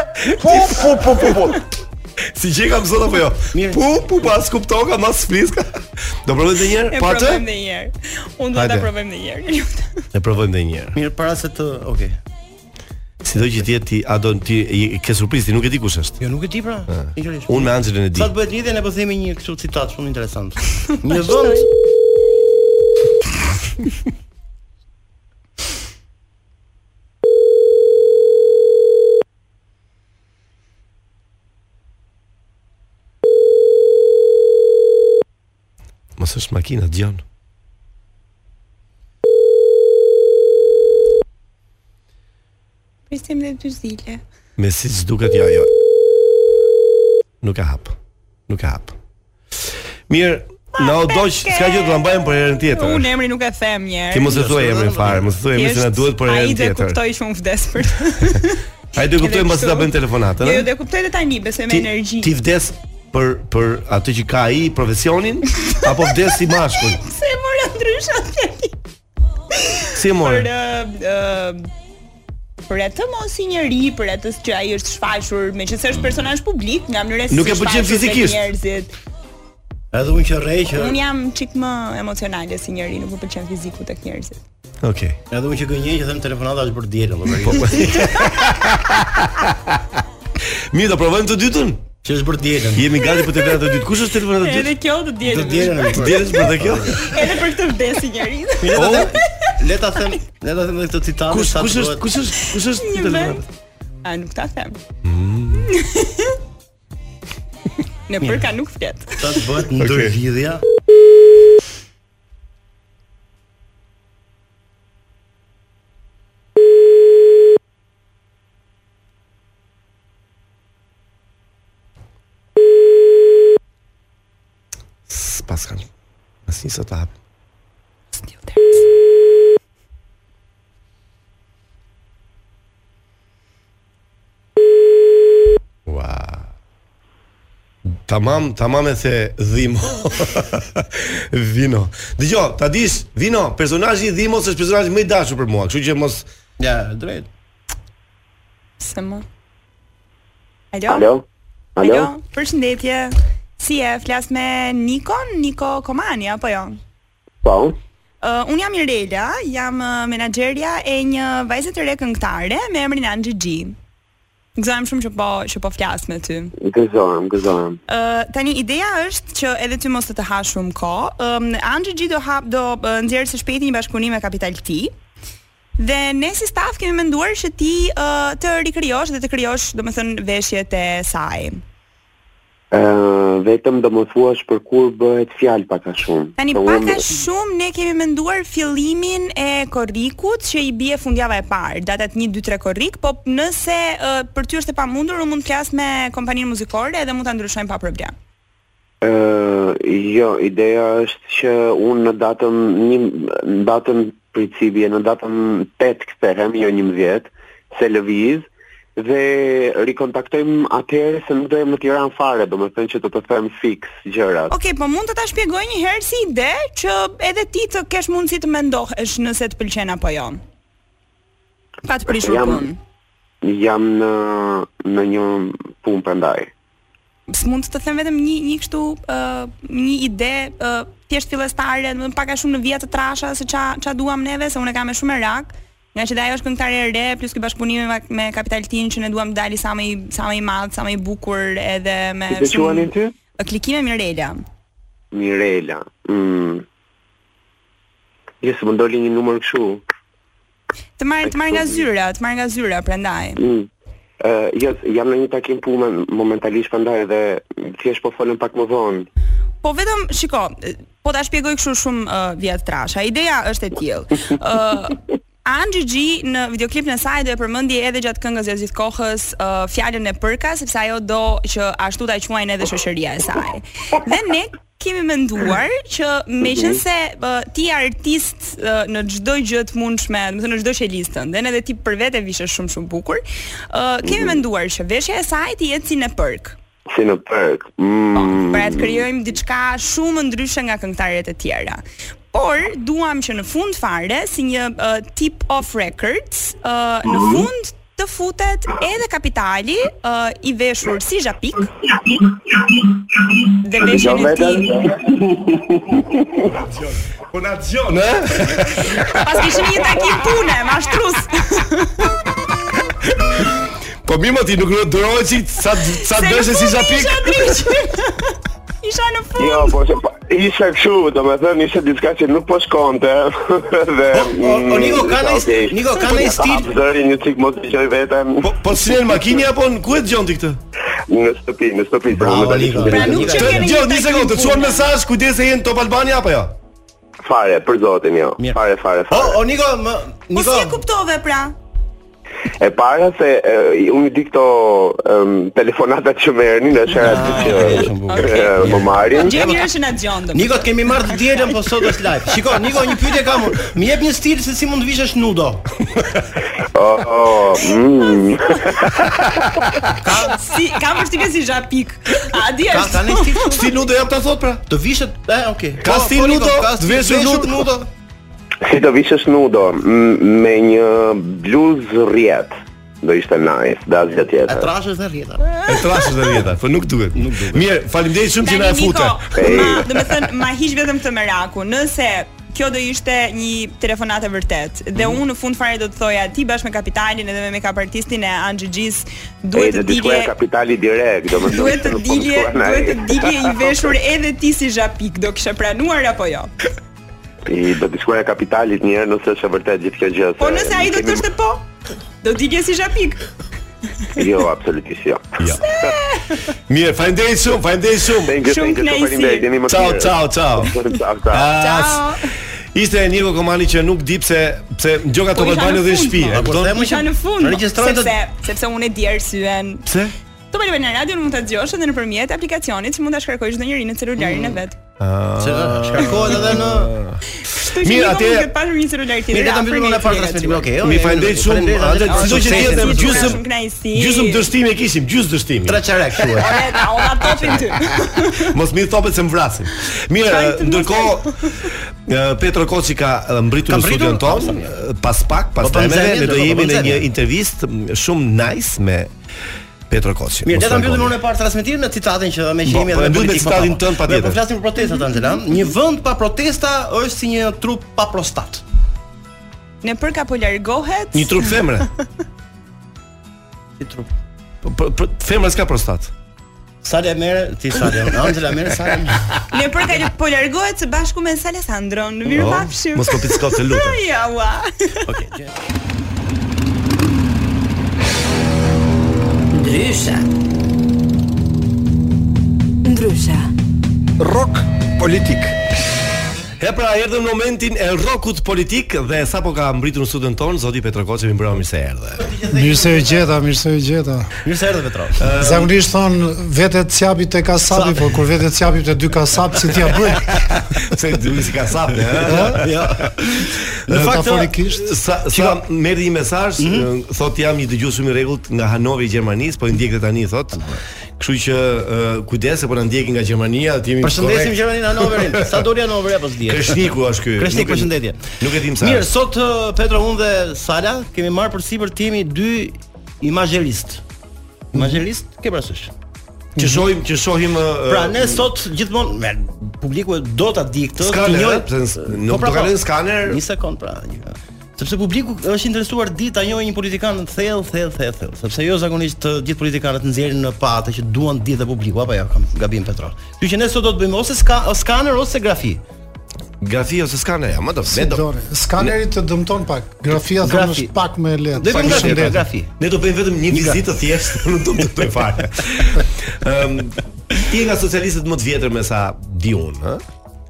Speaker 7: Pu pu pu pu pu. Si që kam sot apo jo?
Speaker 6: Mirë.
Speaker 7: Pu pu pas kuptoka mas fliska. Do provojmë edhe një
Speaker 10: E
Speaker 7: herë, po atë?
Speaker 10: provojmë ndonjëherë. Unë do ta
Speaker 7: Hajde.
Speaker 10: provojmë ndonjëherë.
Speaker 7: E provojmë edhe një herë.
Speaker 6: Mirë, para se të, okay.
Speaker 7: Sido që ti jetë ti, a do ti i- ke surprizë, ti nuk e di kush është.
Speaker 6: Jo, nuk e di pra. Sinqerisht.
Speaker 7: Unë me Anxhelën e di.
Speaker 6: Sa të bëhet lidhja ne po themi një kështu citat shumë interesant. Një vend
Speaker 7: s'është makina, dëgjon.
Speaker 10: Pristim dhe dy zile.
Speaker 7: Me si s'duket jo, jo. Nuk e hap. Nuk e hap. Mirë, na u doq, s'ka gjë do ta mbajmë për herën tjetër.
Speaker 10: Unë emri nuk e them një herë.
Speaker 7: Ti mos e thuaj emrin fare, mos e thuaj emrin se na duhet për herën
Speaker 10: Ai dhe
Speaker 7: tjetër.
Speaker 10: kuptoj që unë vdes për të.
Speaker 7: Ai do kuptoj mos ta bëjmë telefonatën,
Speaker 10: Jo,
Speaker 7: ëh?
Speaker 10: jo, dhe kuptoj dhe tani, besoj me
Speaker 7: Ti-
Speaker 10: energji.
Speaker 7: Ti vdes për për atë që ka ai profesionin apo vdes si mashkull?
Speaker 10: Se e mora ndryshe atje.
Speaker 7: Si e
Speaker 10: Për
Speaker 7: morë?
Speaker 10: ë, ë, për atë mos i njëri, për atë që ai është shfaqur, meqense është personazh publik, nga mënyra se
Speaker 6: Nuk
Speaker 10: si
Speaker 6: e pëlqen
Speaker 10: shfaqur tek
Speaker 6: fizikisht.
Speaker 10: Njerëzit.
Speaker 6: Edhe unë që rrej që
Speaker 10: Unë jam çik më emocionale si njeri, nuk më pëlqen fiziku tek njerëzit.
Speaker 7: Okej.
Speaker 6: Edhe unë që gënjej që them telefonata është për dielën,
Speaker 7: Po. Mirë, do provojmë të dytën.
Speaker 6: Që është për dielën.
Speaker 7: Jemi gati për telefonatën e dytë. Kush është telefonata e dytë?
Speaker 10: Edhe kjo të dielën.
Speaker 6: Të dielën.
Speaker 7: Të dielën për të kjo.
Speaker 10: Edhe për këtë vdes i njerëzit.
Speaker 6: Mirë, le ta them- le ta them, le ta them edhe këtë citat.
Speaker 7: Kush kush është kush është kush është
Speaker 10: Një
Speaker 7: telefonata?
Speaker 10: A nuk ta them.
Speaker 6: Mm.
Speaker 10: Në përka nuk flet.
Speaker 6: Ta të bëhet ndërlidhja.
Speaker 7: Pas kanë. Asnjë sot hap. Ua. Tamam, tamam e the dhimo. vino. Dgjoj, ta dish, vino, personazhi i dhimos është personazhi më i dashur për mua, kështu që mos
Speaker 6: Ja, drejt.
Speaker 10: Se më. Alo? Alo? Alo? Përshëndetje. Si e flas me Nikon, Niko Komani apo jo?
Speaker 12: Po,
Speaker 10: Uh, unë jam Mirela, jam uh, menaxherja e një vajze të re këngëtare me emrin Anxhi G. Gëzohem shumë që po që po flas me ty.
Speaker 12: gëzohem, gëzohem.
Speaker 10: Uh, tani ideja është që edhe ty mos të të hash shumë kohë. Um, Anxhi G do hap do uh, nxjerr së shpejti një bashkëpunim me Kapital Ti. Dhe ne si staf kemi menduar që ti uh, të rikrijosh dhe të krijosh, domethënë veshjet e saj.
Speaker 12: Ë vetëm do më thuash për kur bëhet fjalë pak a shumë.
Speaker 10: Tani
Speaker 12: Se
Speaker 10: pak a
Speaker 12: Po, unë-
Speaker 10: shumë ne kemi menduar fillimin e korrikut që i bie fundjava e parë, datat 1 2 3 korrik, po nëse uh, për ty është e pamundur, unë mund të flas me kompaninë muzikore dhe mund ta ndryshojmë pa problem.
Speaker 12: Ë jo, ideja është që unë në datën një në datën principie në datën 8 kthehem, jo 11, se lëviz dhe rikontaktojmë atëherë se nuk do jem në Tiranë fare, domethënë që do të them fix gjërat.
Speaker 10: Okej, po mund të ta shpjegoj një herë si ide që edhe ti të kesh mundësi të mendohesh nëse të pëlqen apo jo. Pa të prishur
Speaker 12: Jam-
Speaker 10: punë.
Speaker 12: Jam në në një punë prandaj.
Speaker 10: S'mund të them vetëm një një kështu ë një ide ë thjesht fillestare, domethënë pak a shumë në vija të trasha se ça ça duam neve, se unë e kam me shumë merak. Nga që dhe ajo është këngëtare e re, plus ky bashkëpunimi me, me Kapital Tin që ne duam të dali sa më i sa më i madh, sa më i bukur edhe me
Speaker 12: Si të quani ty?
Speaker 10: Klikime Mirela.
Speaker 12: Mirela. Mm. Jesë, më ndoli një numër këshu.
Speaker 10: Të marr të marr nga zyra, të marr nga zyra prandaj.
Speaker 12: Mm. Uh, jo, jam në një takim punë momentalisht prandaj dhe thjesht po folëm pak më vonë.
Speaker 10: Po vetëm shiko, po ta shpjegoj kështu shumë uh, vjet trasha. Ideja është e tillë. Ë uh, Anxhi G në videoklipin e saj do e përmendi edhe gjatë këngës gjatë gjithë kohës uh, fjalën e përka sepse ajo do që ashtu ta quajnë edhe shoqëria e saj. Dhe ne kemi menduar që meqense uh, ti je artist uh, në çdo gjë të mundshme, do të thënë në çdo shelist tënde, edhe ti për vete vishe shumë shumë bukur, uh, kemi menduar që veshja e saj ti jetë si në përk.
Speaker 12: Si në përk. Mm.
Speaker 10: Pra të krijojmë diçka shumë ndryshe nga këngëtarët e tjera. Por duam që në fund fare si një uh, tip of records, uh, në fund të futet edhe kapitali uh, i veshur si zhapik dhe veshjen e tij.
Speaker 7: Po na dëgjon, ë?
Speaker 10: Pas kishim një takim pune, mashtrus.
Speaker 7: Po mirë mo ti nuk durohet si sa sa
Speaker 10: Se në
Speaker 7: dëshë si
Speaker 10: fund
Speaker 7: zapik.
Speaker 10: isha drejt. Isha në fund.
Speaker 12: Jo, po që pa, isha këshu, do me thënë, isha diçka që nuk po shkonte dhe... O,
Speaker 11: mm,
Speaker 6: o, Niko, ka në- Niko, ka në stil-
Speaker 12: Zëri një cikë mos të qoj veten.
Speaker 7: Po si në makinë apo në ku e dëgjon ti këtë?
Speaker 11: Në shtëpi, në shtëpi. Bravo,
Speaker 7: Niko. Pra nuk që keni. Jo, një sekondë, të çuan mesazh, kujdes se jeni Top Albania apo jo?
Speaker 11: Fare, për zotin jo. Fare, fare, fare.
Speaker 6: Oh,
Speaker 7: O, o Niko, më
Speaker 10: Po si e kuptove pra?
Speaker 11: E para se e, unë i di këto em, telefonatat që merrni në
Speaker 12: Ah,
Speaker 11: shërat që
Speaker 7: Po,
Speaker 11: e, më marrin.
Speaker 10: Gjë mirë që na dëgjon.
Speaker 6: Niko, të kemi marrë të dielën po sot është live. Shiko, Niko, një pyetje kam unë. Më jep një stil se si mund të vishesh nudo.
Speaker 11: Oh, oh, mm.
Speaker 10: Ka si kam vështirë si Japik. A di
Speaker 6: Ka
Speaker 10: është?
Speaker 6: tani stil.
Speaker 7: Stil nudo jam ta thot pra.
Speaker 6: Të vishet, e, okay.
Speaker 7: Ka
Speaker 6: Po,
Speaker 7: stil
Speaker 6: po, Niko,
Speaker 7: nudo,
Speaker 6: ka
Speaker 7: të
Speaker 6: stil
Speaker 7: veshur nudo.
Speaker 11: Si të vishësh nudo m- me një bluzë rrjet. Do ishte nice, dhe asgjë
Speaker 6: E
Speaker 10: pra,
Speaker 11: tjetër.
Speaker 6: trashës dhe rrjeta.
Speaker 7: E trashësh të vjeta, po nuk duhet. Nuk duhet. Mirë, faleminderit shumë që na e fute.
Speaker 10: ma, do të thënë, ma hiq vetëm këtë meraku. Nëse kjo do ishte një telefonat e vërtet dhe unë në fund fare do të thoja ti bashkë me kapitalin edhe me make-up artistin e Anxhixhis
Speaker 11: E
Speaker 10: duhet
Speaker 11: të
Speaker 10: të
Speaker 11: diskuje
Speaker 10: dilje
Speaker 11: kapitali direkt, do më thënë
Speaker 10: duhet
Speaker 11: se
Speaker 10: të
Speaker 11: nuk po më
Speaker 10: dilje
Speaker 11: shkuar na
Speaker 10: duhet
Speaker 11: e.
Speaker 10: të dilje i veshur edhe ti si Japik do kishe pranuar apo jo
Speaker 11: I do të shkuar e kapitalit një herë nëse është e vërtet gjithë kjo gjë.
Speaker 10: po
Speaker 11: se
Speaker 10: nëse ai do të thoshte po do dilje si Japik
Speaker 11: Jo, absolutisht jo.
Speaker 7: Jo. Mirë, faleminderit shumë, faleminderit shumë.
Speaker 11: Thank you,
Speaker 10: Shumë
Speaker 11: thank you,
Speaker 10: knajsi.
Speaker 11: faleminderit. Jeni më të
Speaker 7: Ciao,
Speaker 11: mirë.
Speaker 7: ciao, Ah, ciao.
Speaker 11: Ciao, ciao.
Speaker 7: Ciao. Ishte Niko Komani që nuk di pse pse ngjoka
Speaker 10: Po
Speaker 7: Top
Speaker 10: isha
Speaker 7: Albani
Speaker 10: në
Speaker 7: dhe në
Speaker 10: fund,
Speaker 7: shtëpi.
Speaker 10: po.
Speaker 7: e kupton?
Speaker 10: isha në fund
Speaker 6: regjistrojnë të-
Speaker 10: sepse sepse unë e di arsyen
Speaker 7: Pse?
Speaker 10: Top Albana Radio mund ta dëgjosh edhe nëpërmjet aplikacionit që mund ta shkarkosh çdo njeri në celularin
Speaker 7: Mm.
Speaker 10: e vet.
Speaker 6: Se eh, shkarkohet edhe në
Speaker 10: Kështu që
Speaker 7: Mirë,
Speaker 10: Niko
Speaker 7: atje-
Speaker 10: mund të pasur një celular
Speaker 6: Mirë,
Speaker 10: tjetër.
Speaker 6: vetëm
Speaker 10: afër
Speaker 6: mbyllëm
Speaker 10: një
Speaker 6: në fakt
Speaker 10: tjetër.
Speaker 6: transmetimin. Okej,
Speaker 7: Mi faleminderit shumë. Andaj çdo që
Speaker 10: sukseset,
Speaker 7: tjetër
Speaker 10: gjithë
Speaker 7: gjysëm
Speaker 10: shumë knajsi.
Speaker 7: gjysëm dështimi e kishim, gjysmë dështimi.
Speaker 6: tre çarek thuaj.
Speaker 10: Ore, ta ona topin ty.
Speaker 7: Mos mirë thopet se më vrasin. Mirë,
Speaker 10: Shajtë në
Speaker 7: ndërkohë e, Petro Koçi ka e, mbritur
Speaker 6: Ka mbritur?
Speaker 7: në studion
Speaker 6: Po,
Speaker 7: ton, e, pas pak, pas
Speaker 6: Po, po,
Speaker 7: temeve,
Speaker 6: nxjerrje,
Speaker 7: ne do
Speaker 6: po, po,
Speaker 7: jemi në një
Speaker 6: nxjerrje.
Speaker 7: intervistë m, shumë nice me Petro Koçi.
Speaker 6: Mirë,
Speaker 7: mos
Speaker 6: le ta mbyllim
Speaker 7: largoni.
Speaker 6: unë e parë transmetimin me citatën që me
Speaker 7: Po,
Speaker 6: qejmi
Speaker 7: po, e
Speaker 6: edhe
Speaker 7: mbyllim me
Speaker 6: politikë,
Speaker 7: citatin
Speaker 6: po, po.
Speaker 7: tënd,
Speaker 6: Ne
Speaker 7: patjetër.
Speaker 6: Po flasim për protestat Angela. Një vend pa protesta është si një trup pa prostat.
Speaker 10: Në për ka po largohet.
Speaker 7: Një trup femre.
Speaker 6: Si trup.
Speaker 7: Po, po, po, Femra s'ka prostat.
Speaker 6: Sale merë, ti sale. Angela merë sale.
Speaker 10: Në për ka po largohet së bashku me Salesandron. Mirë
Speaker 7: Po,
Speaker 10: pafshim.
Speaker 7: Mos kopi skot të lutem.
Speaker 10: Ja, ua.
Speaker 3: Ndryshe.
Speaker 1: Ndryshe.
Speaker 2: Rock politik.
Speaker 7: E pra erdhëm në momentin e rrokut politik dhe sapo ka mbritur në studion ton zoti Petro Koçi, mi mbrëmë mirë se erdhe.
Speaker 12: Mirë se e gjeta, mirë se e gjeta.
Speaker 6: Mirë se erdhe Petro.
Speaker 12: Zakonisht thon vetet s'japi te kasapi, po kur vetet s'japi te dy kasap si t'ia bëj.
Speaker 7: Se duhet si ka sapë, ha?
Speaker 6: Jo.
Speaker 7: Në fakt
Speaker 12: Metaforikisht.
Speaker 7: sa sa merri një mesazh, mm
Speaker 6: Mhm.
Speaker 7: thot jam një dëgjues shumë i rregullt nga Hanovi i Gjermanisë, po i ndjek dhe tani thot. Kështu që uh, kujdes se po na ndjekin nga Gjermania, ti jemi
Speaker 6: Përshëndesim
Speaker 7: korrekt.
Speaker 6: Gjermanin Hanoverin. Sa doli Hanover apo s'dihet.
Speaker 7: Kreshniku është ky.
Speaker 6: Kreshnik,
Speaker 7: Nuk e-
Speaker 6: përshëndetje.
Speaker 7: Nuk e dim sa.
Speaker 6: Mirë,
Speaker 7: është.
Speaker 6: sot eh, Petro unë dhe Sala kemi marrë përsipër timi dy imazherist. Imazherist, ke parasysh?
Speaker 7: që shohim që shohim uh,
Speaker 6: Pra ne sot gjithmonë me publiku e do ta di këtë,
Speaker 7: Skaner,
Speaker 6: të njohë-
Speaker 7: pse ns- nuk
Speaker 6: Po, pra,
Speaker 7: do ka
Speaker 6: po.
Speaker 7: lënë skaner.
Speaker 6: Një sekond pra. një- Sepse publiku është interesuar di ta njohë një politikan të thellë, thellë, thellë, thellë, sepse jo zakonisht të gjithë politikanët nxjerrin në pa atë që duan ditë dhe publiku, apo jo, kam gabim Petro. Kështu që ne sot do të bëjmë ose ska, o skaner ose grafi.
Speaker 7: grafi ose skaner, ja, më do. Ne do.
Speaker 12: Dore, skaneri të dëmton pak. Grafia thon
Speaker 6: Grafi.
Speaker 12: është pak më e
Speaker 6: Do
Speaker 12: lehtë.
Speaker 6: i bëjmë grafi,
Speaker 12: Përshëndetje.
Speaker 6: grafi.
Speaker 7: Ne do bëjmë vetëm një vizitë të thjeshtë, nuk do të bëj fare. Ëm ti je nga socialistët më të vjetër me sa di unë, ë?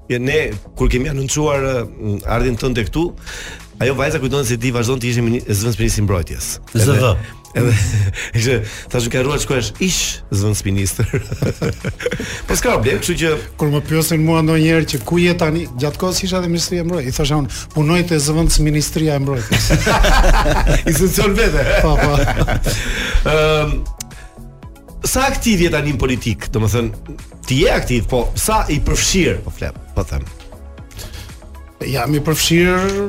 Speaker 7: Ja ne kur kemi anoncuar ë, ardhin tënde këtu, ajo vajza kujton se ti vazhdon të ishe mini- zëvendësministri mbrojtjes. Edhe-
Speaker 6: ZV.
Speaker 7: Edhe ishte thashë ka ruar shkohesh ish zëvendësministër. po s'ka problem, kështu që
Speaker 12: Kur më pyesin mua ndonjëherë që ku je tani, gjatë kohës isha edhe Ministria e Mbrojtjes. I thashë unë, punoj te zëvendës Ministria e Mbrojtjes.
Speaker 7: institucion vete.
Speaker 12: Po, po.
Speaker 7: Ëm sa aktiv je tani në politik? Domethënë ti je aktiv, po sa i përfshir, po flet, po them.
Speaker 12: Jam i përfshirë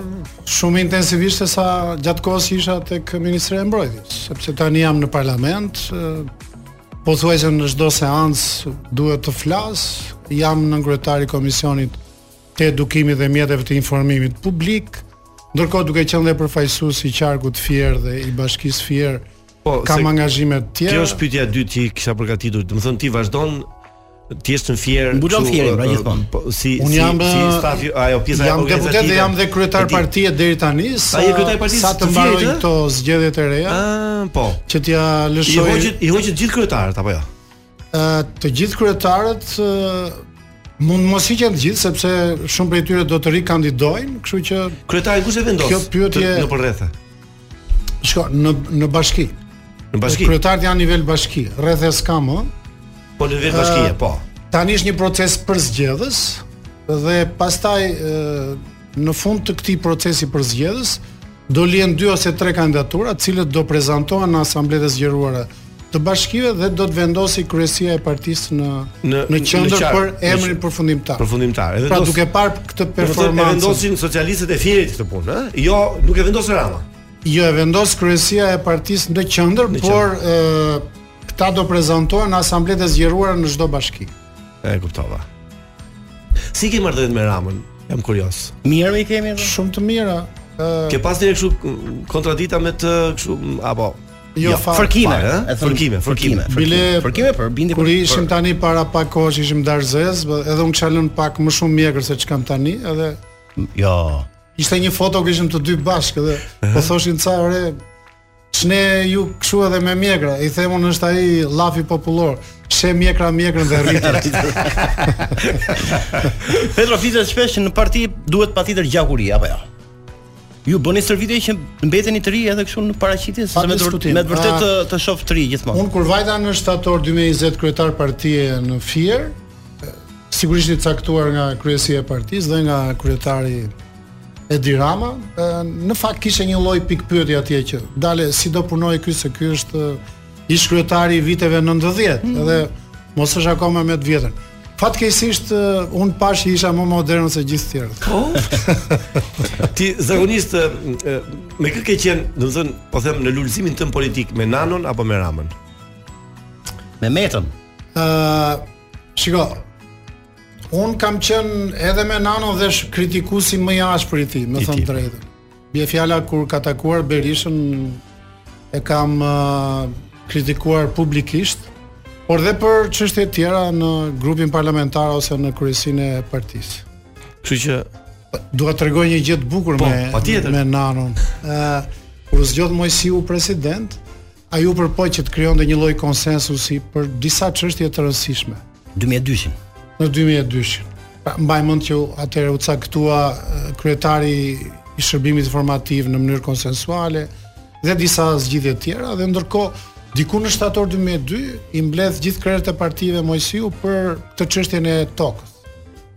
Speaker 12: shumë intensivisht se sa gjatë kohës që isha tek Ministria e Mbrojtjes, sepse tani jam në parlament, e, po thuaj që në çdo seancë duhet të flas, jam në kryetari i komisionit të edukimit dhe mjeteve të informimit publik, ndërkohë duke qenë dhe përfaqësues i qarkut Fier dhe i bashkisë Fier,
Speaker 7: Po,
Speaker 12: kam
Speaker 7: se-
Speaker 12: angazhime të
Speaker 7: Kjo
Speaker 12: tjera.
Speaker 7: është pyetja e dytë që i kisha përgatitur. Do të thonë ti vazhdon ti je në fier.
Speaker 6: Mbulon fierin pra gjithmonë.
Speaker 7: Po si
Speaker 12: Unë
Speaker 7: si
Speaker 12: jam, eh,
Speaker 7: si stafi ajo pjesa
Speaker 12: jam deputet dhe jam dhe kryetar partie deri tani. Sa
Speaker 7: je kryetar partisë
Speaker 12: sa
Speaker 7: të
Speaker 12: të mbaroj
Speaker 7: fjerit, ë?
Speaker 12: këto zgjedhjet e reja?
Speaker 7: Ëh, po.
Speaker 12: Që t'ja
Speaker 7: I
Speaker 12: lëshoj
Speaker 7: hoqët i hoqët gjithë kryetarët apo jo?
Speaker 12: Ë, të gjithë kryetarët ë, mund mos i qenë të gjithë sepse shumë prej tyre do të rikandidojnë, kështu që
Speaker 7: Kryetari kush e vendos?
Speaker 12: Kjo pyetje
Speaker 7: Të- në përrethë.
Speaker 12: shko në në bashki.
Speaker 7: Në bashki?
Speaker 12: Kryetarët janë nivel bashki, rreth e s'kam ë.
Speaker 7: Po në vetë bashkie,
Speaker 12: Ë,
Speaker 7: po.
Speaker 12: Tani është një proces për zgjedhës dhe pastaj ë, në fund të këtij procesi për zgjedhës do lihen dy ose tre kandidatura, të cilët do prezantohen në asambletë zgjeruara të bashkive dhe do të vendosi kryesia e partisë në në, qendër
Speaker 7: qark,
Speaker 12: për
Speaker 7: në qe-
Speaker 12: emrin përfundimtar.
Speaker 7: Përfundimtar. Edhe
Speaker 12: Pra
Speaker 7: dos-
Speaker 12: duke parë këtë
Speaker 7: do të thotë, E
Speaker 12: performancë,
Speaker 7: vendosin socialistët e fierit këtë punë, ëh? Jo, nuk e vendos Rama.
Speaker 12: jo e vendos kryesia e partisë në qendër, por ë këta do prezantohen në asambletë zgjeruara në çdo bashki.
Speaker 7: E kuptova. Si ke marrë dhënë me Ramën? Jam kurioz.
Speaker 6: Mirë me i kemi edhe.
Speaker 12: Shumë të mira. Ë
Speaker 7: Ke pas një kështu mm, kontradita me të kështu mm, apo
Speaker 12: Jo, fare.
Speaker 6: Fërkime,
Speaker 7: Fare, ëh?
Speaker 6: e thon-
Speaker 7: Fërkime, fërkime.
Speaker 12: Bile
Speaker 6: Fërkime për bindi
Speaker 12: kur ishim tani para pak kohësh ishim darzez, bë- edhe unë kisha lënë pak më shumë mjekër se ç'kam tani, edhe
Speaker 6: Jo.
Speaker 12: ishte një foto ku ishim të dy bashkë edhe po thoshin ca re ç'ne ju kshu edhe me mjekra. I them unë është ai llafi popullor. She mjekra mjekrën dhe rritet.
Speaker 6: Petro flitet shpesh që në parti duhet patjetër gjakuri apo jo. Ju bëni stërvitje që mbeteni të ri edhe kështu në paraqitje, sepse me të
Speaker 12: diskutim.
Speaker 6: me të vërtet të,
Speaker 12: Ah.
Speaker 6: të shoh të ri gjithmonë.
Speaker 12: Unë kur vajta në shtator 2020 kryetar partie në Fier, e, sigurisht i caktuar nga kryesia e partisë dhe nga kryetari Edi Rama, e, në fakt kishte një lloj pikpyetje atje që dale si do punoj ky se ky është e, ish kryetari i viteve 90 edhe mos është akoma me të vjetën. Fatkeqësisht e, unë pash që isha më modern se gjithë të tjerët.
Speaker 7: Ti zakonisht e, e, me kë ke qenë, do të thënë, po them në lulëzimin tëm politik me Nanon apo me Ramën?
Speaker 6: Me Metën.
Speaker 12: Ë, shiko. Un kam qen edhe me Nano dhe sh kritikusi më i ashpër i tij, më thënë drejtën. Bie fjala kur ka takuar Berishën e kam ë, kritikuar publikisht, por dhe për çështje të tjera në grupin parlamentar ose në kryesinë e partisë.
Speaker 7: Kështu që
Speaker 12: Dua të rregoj një gjë të bukur
Speaker 7: Po,
Speaker 12: me
Speaker 7: patjetër.
Speaker 12: me Nanon. Ë kur u zgjodh Mojsiu president, ai u përpoq që të krijonte një lloj konsensusi për disa çështje të rëndësishme
Speaker 6: 2002-shin.
Speaker 12: në 2002-shin. Pra, mbaj mend që atëherë u caktua e, kryetari i shërbimit informativ në mënyrë konsensuale dhe disa zgjidhje të tjera dhe ndërkohë diku në shtator 2002 i mbledh gjithë krerët e partive Mojsiu për këtë çështjen e tokës.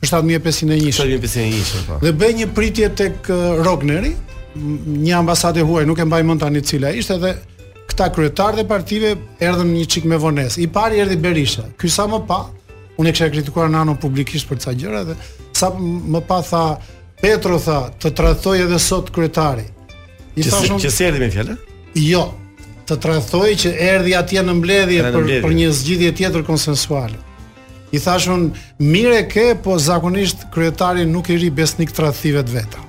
Speaker 12: Për 7501.
Speaker 7: 7501, po.
Speaker 12: Dhe bëj një pritje tek eh, Rogneri, m- një ambasadë e huaj, nuk e mbaj mend tani cila ishte dhe këta kryetarë dhe partive erdhën një çik me vonesë. I pari erdhi Berisha. Ky sa më pa, unë e kisha kritikuar Nano publikisht për ca gjëra dhe sa m- më pa tha Petro tha të tradhtoj edhe sot kryetari. I
Speaker 7: Që
Speaker 12: thash
Speaker 7: si-
Speaker 12: unë-
Speaker 7: që si erdhi me fjalë?
Speaker 12: Jo, të tradhtoj që erdhi atje në mbledhje
Speaker 7: Edhe në
Speaker 12: për
Speaker 7: mbledhje.
Speaker 12: për një zgjidhje tjetër konsensuale. I thashun, mire ke, po zakonisht kryetari nuk i ri besnik tradhtive të veta.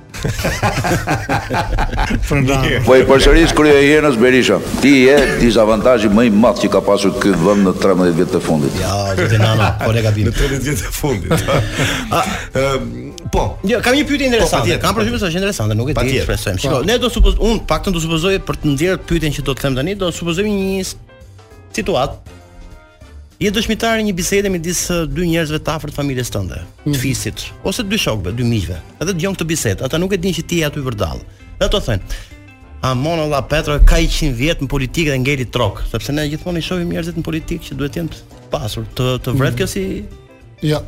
Speaker 12: Fernando.
Speaker 13: Po i përsëris krye Hjenës Berisha. Ti je dizavantazhi më i madh që ka pasur ky vend në 13 vjet të fundit.
Speaker 6: Ja, zoti Nano, po le gabim.
Speaker 7: Në 13 vjet të fundit. Ëm, po.
Speaker 6: Jo, kam një pyetje interesante.
Speaker 7: patjetër,
Speaker 6: kam përshtypjen se është interesante, nuk e di,
Speaker 7: Patjetër.
Speaker 6: shpresojmë.
Speaker 7: Po.
Speaker 6: Shikoj, ne do supozoj, un paktën do supozoj për të ndjerë pyetjen që do të them tani, do supozojmë një s- situatë. Je dëshmitar e një bisede midis ë, dy njerëzve të afërt familjes tënde,
Speaker 7: Mhm.
Speaker 6: të fisit, ose dy shokëve, dy miqve. Edhe dëgjon këtë bisedë, ata nuk e dinë që ti je aty vërdall. Dhe ato thënë, Amon olla Petro ka 100 vjet në politikë dhe ngeli trok, sepse ne gjithmonë i shohim njerëzit në politikë që duhet të jenë të pasur, të të
Speaker 7: Mhm.
Speaker 6: vret kjo si
Speaker 12: Ja. Jo.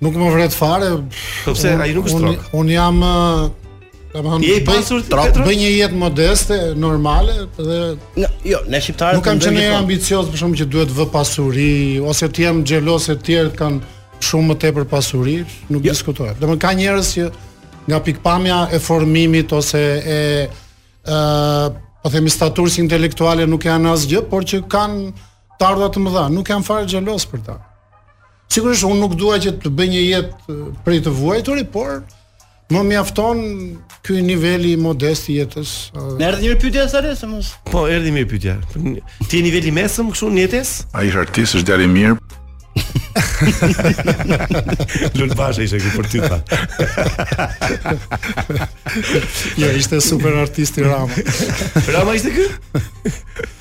Speaker 12: Nuk më vret fare.
Speaker 7: Po pse,
Speaker 12: Unë-
Speaker 7: ai nuk është
Speaker 12: unë-
Speaker 7: trok.
Speaker 12: Unë jam ë, domethënë
Speaker 7: Je i
Speaker 12: bëj-
Speaker 7: pasur, Petro?
Speaker 12: bëj një jetë modeste, normale dhe
Speaker 6: Nga, jo, ne shqiptarët
Speaker 12: Nuk kam
Speaker 6: mendojmë
Speaker 12: qenë
Speaker 6: gjithmonë.
Speaker 12: ambicioz për shkak që duhet vë pasuri ose të jem xhelos se të tjerët kanë shumë më tepër pasuri, nuk diskutoj. Domethënë ka njerëz që nga pikpamja e formimit ose e ë po themi staturës intelektuale nuk janë asgjë, por që kanë të ardha të mëdha, nuk jam fare xhelos për ta. Sigurisht unë nuk dua që të bëj një jetë e, prej të vuajturi, por më mjafton ky niveli modest i jetës. ë,
Speaker 6: Ne erdhi një pyetje sa re se mos.
Speaker 7: Po, erdhi mirë pyetja. Ti je niveli mesëm kështu në jetesë?
Speaker 8: Ai është artist, është djalë i mirë.
Speaker 7: Lul Basha ishte këtu për ty tha.
Speaker 12: Jo, ishte super artisti Rama.
Speaker 7: Rama ishte ky?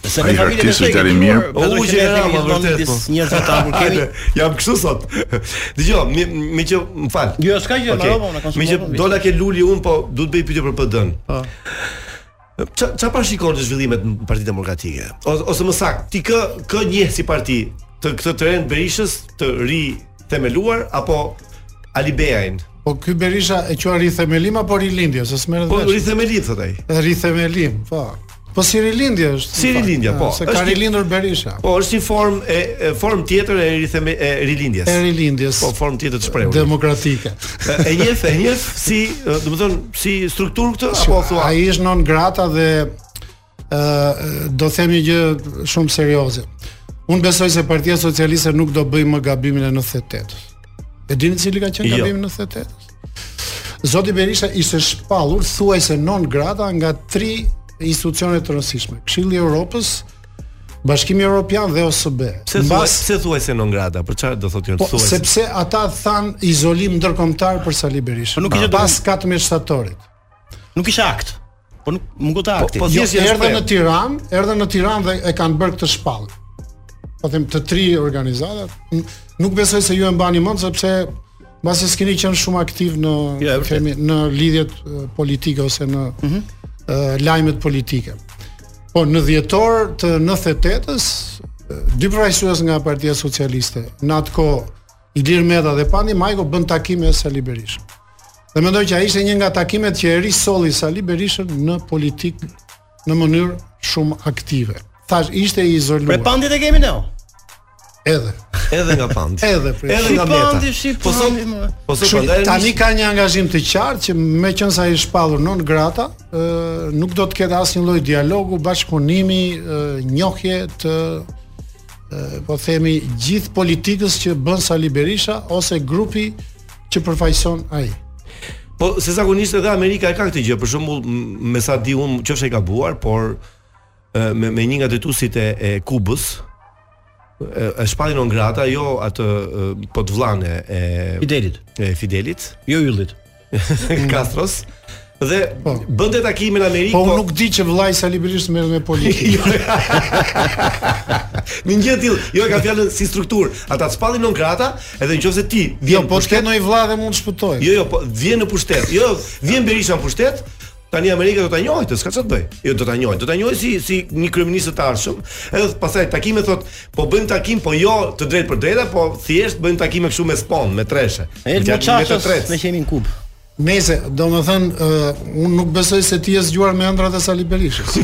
Speaker 6: Se me familjen e
Speaker 13: artist
Speaker 6: shekë
Speaker 13: i mirë.
Speaker 7: po, U që e Rama vërtet po.
Speaker 6: Njerëz të hapur kemi.
Speaker 7: Jam kështu sot. Dgjoj, mi mi që më fal.
Speaker 6: Jo, s'ka gjë,
Speaker 7: Okej.
Speaker 6: marrova, unë e kam
Speaker 7: Mi që
Speaker 6: sumuar,
Speaker 7: dola ke luli un, po duhet bëj pyetje për PD-n. Po. Ça ça parashikon të zhvillimet në Partitë Demokratike? Ose, ose më saktë, ti kë kë njeh si parti të këtë tren Berishës të ri themeluar apo Ali Beain?
Speaker 12: Po ky Berisha e qua rithemelim apo rilindje, se s'merret
Speaker 7: Po
Speaker 12: vesh.
Speaker 7: rithemelim thot ai.
Speaker 12: Rithemelim, po. Po si rilindje është. në
Speaker 7: Si
Speaker 12: fakt,
Speaker 7: rilindja,
Speaker 12: ja,
Speaker 7: po.
Speaker 12: Se ka
Speaker 7: Është një-
Speaker 12: rilindur Berisha.
Speaker 7: Po është një formë e, e formë tjetër e ritheme e rilindjes.
Speaker 12: E rilindjes.
Speaker 7: Po formë tjetër të shprehur.
Speaker 12: Demokratike.
Speaker 7: E njeh, e njeh si, do të thonë, si strukturë këtë apo Po, thua?
Speaker 12: Po, Ai është non grata dhe ë do themi gjë shumë serioze. Unë besoj se Partia Socialiste nuk do bëj më gabimin e 98. E dini cili ka qenë
Speaker 7: Jo.
Speaker 12: gabimi i 98? Zoti Berisha ishte shpallur thuajse non grata nga tri institucione të rëndësishme, Këshilli i Evropës, Bashkimi Evropian dhe OSB.
Speaker 7: Pse thua, pse thuaj se non grata? Për çfarë do thotë
Speaker 12: Po,
Speaker 7: ju thuaj?
Speaker 12: sepse ata than izolim ndërkombëtar për Sali
Speaker 7: Po
Speaker 12: Berisha.
Speaker 6: nuk ishte
Speaker 12: pas 14 shtatorit.
Speaker 6: Nuk ishte akt. Po nuk mungo ta akti.
Speaker 12: Jo, erdhën në Tiranë, erdhën në Tiranë dhe e kanë bërë këtë shpallë. Po them të tri organizatat. N- Nuk besoj se ju e mbani mend sepse mbasi s'keni qenë shumë aktiv në
Speaker 6: Jo, e vërtet. Mhm.
Speaker 12: kemi, në lidhjet e, politike ose në e, lajmet politike. Po në dhjetor të 98-s e, dy përfaqësues nga Partia Socialiste, në atë kohë Ilir Meta dhe Pandi Majko bën takime me Sali Berisha. Dhe mendoj që ai ishte një nga takimet që e risolli Sali Berishën në politik në mënyrë shumë aktive. Thash ishte i izoluar.
Speaker 6: Pre pandit e kemi ne. o.
Speaker 7: Po,
Speaker 12: Edhe.
Speaker 7: Edhe nga pandi.
Speaker 12: Edhe pre.
Speaker 7: Edhe nga meta.
Speaker 6: Shqipandi,
Speaker 7: Po sot
Speaker 6: shqipandi. mo.
Speaker 7: po sot
Speaker 12: Kështu,
Speaker 7: prandaj
Speaker 12: tani ka një angazhim të qartë që me qënë sa i shpallur non grata, ë, nuk do të ketë asnjë lloj dialogu, bashkëpunimi, ë, njohje të ë, po themi gjithë politikës që bën Sali Berisha ose grupi që përfaqëson ai.
Speaker 7: Po se zakonisht edhe Amerika e ka këtë gjë, për shembull m- me sa di unë qofshe e ka buar, por e, me, me një nga drejtuesit e, e Kubës e, e shpallin on grata, jo atë e, po të vllanë e- e
Speaker 6: Fidelit.
Speaker 7: E Fidelit,
Speaker 6: jo Yllit.
Speaker 7: Kastros. Dhe bënte takime në Amerikë.
Speaker 12: Po unë nuk di që vllai Sali Berisha merret me politikë.
Speaker 7: Në një gjë tillë, jo e ka fjalën si strukturë. Ata të spallin non grata, edhe nëse ti vjen
Speaker 12: Jo, po të ketë ndonjë vlla dhe mund të shpëtojë.
Speaker 7: Jo, jo, po vjen në pushtet. Jo, vjen Berisha në pushtet. Tani Amerika do ta njohë këtë, s'ka ç'a të bëj. Jo, do ta njohë, do ta njohë si si një kryeminist të arshëm. Edhe pastaj takime thot, po bëjmë takim, po jo të drejtë për drejtë, po thjesht bëjmë takime kështu me spon, me treshe.
Speaker 6: Erdhi
Speaker 7: Gjatë-
Speaker 6: me çashës
Speaker 7: trecë.
Speaker 6: me qemin kub.
Speaker 12: Nëse, do më thënë, uh, unë nuk besoj se ti je zgjuar me ëndrat e Sali Berishës.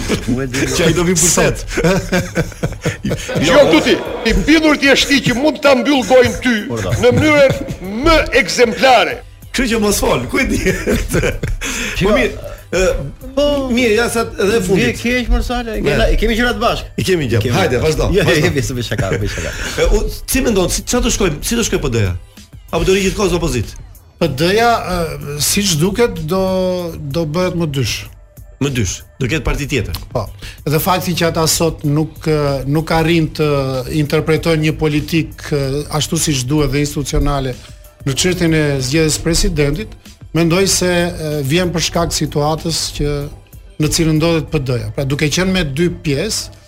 Speaker 7: Që ai do vi pushtet. po,
Speaker 14: Jo, jo tuti, i bindur ti është ti që mund ta mbyll gojën ty në mënyrën më ekzemplare.
Speaker 7: Kështu që mos fol, ku e di. Po mirë, ë, po mirë, ja sa edhe e
Speaker 6: Vje
Speaker 7: fundit.
Speaker 6: keq më sale.
Speaker 7: Ne.
Speaker 6: E kemi gjëra të bashkë.
Speaker 7: I kemi gjë.
Speaker 6: Kemi
Speaker 7: Hajde,
Speaker 6: gjë.
Speaker 7: vazhdo.
Speaker 6: Jo,
Speaker 7: vazhdo.
Speaker 6: jo, jo, s'u bëj shaka, bëj shaka.
Speaker 7: E, u- Si mendon, si çfarë do shkojmë? Si do shkoj PD-ja? Apo do ri gjithkohë në opozit?
Speaker 12: PD-ja uh, siç duket do do bëhet më dysh.
Speaker 7: Më dysh, do ketë parti tjetër.
Speaker 12: Po. Dhe fakti që ata sot nuk ë, nuk arrin të interpretojnë një politik ë, ashtu siç duhet dhe institucionale në çështjen e zgjedhjes presidentit, mendoj se ë, vjen për shkak situatës që në cilën ndodhet PD-ja. Pra duke qenë me dy pjesë,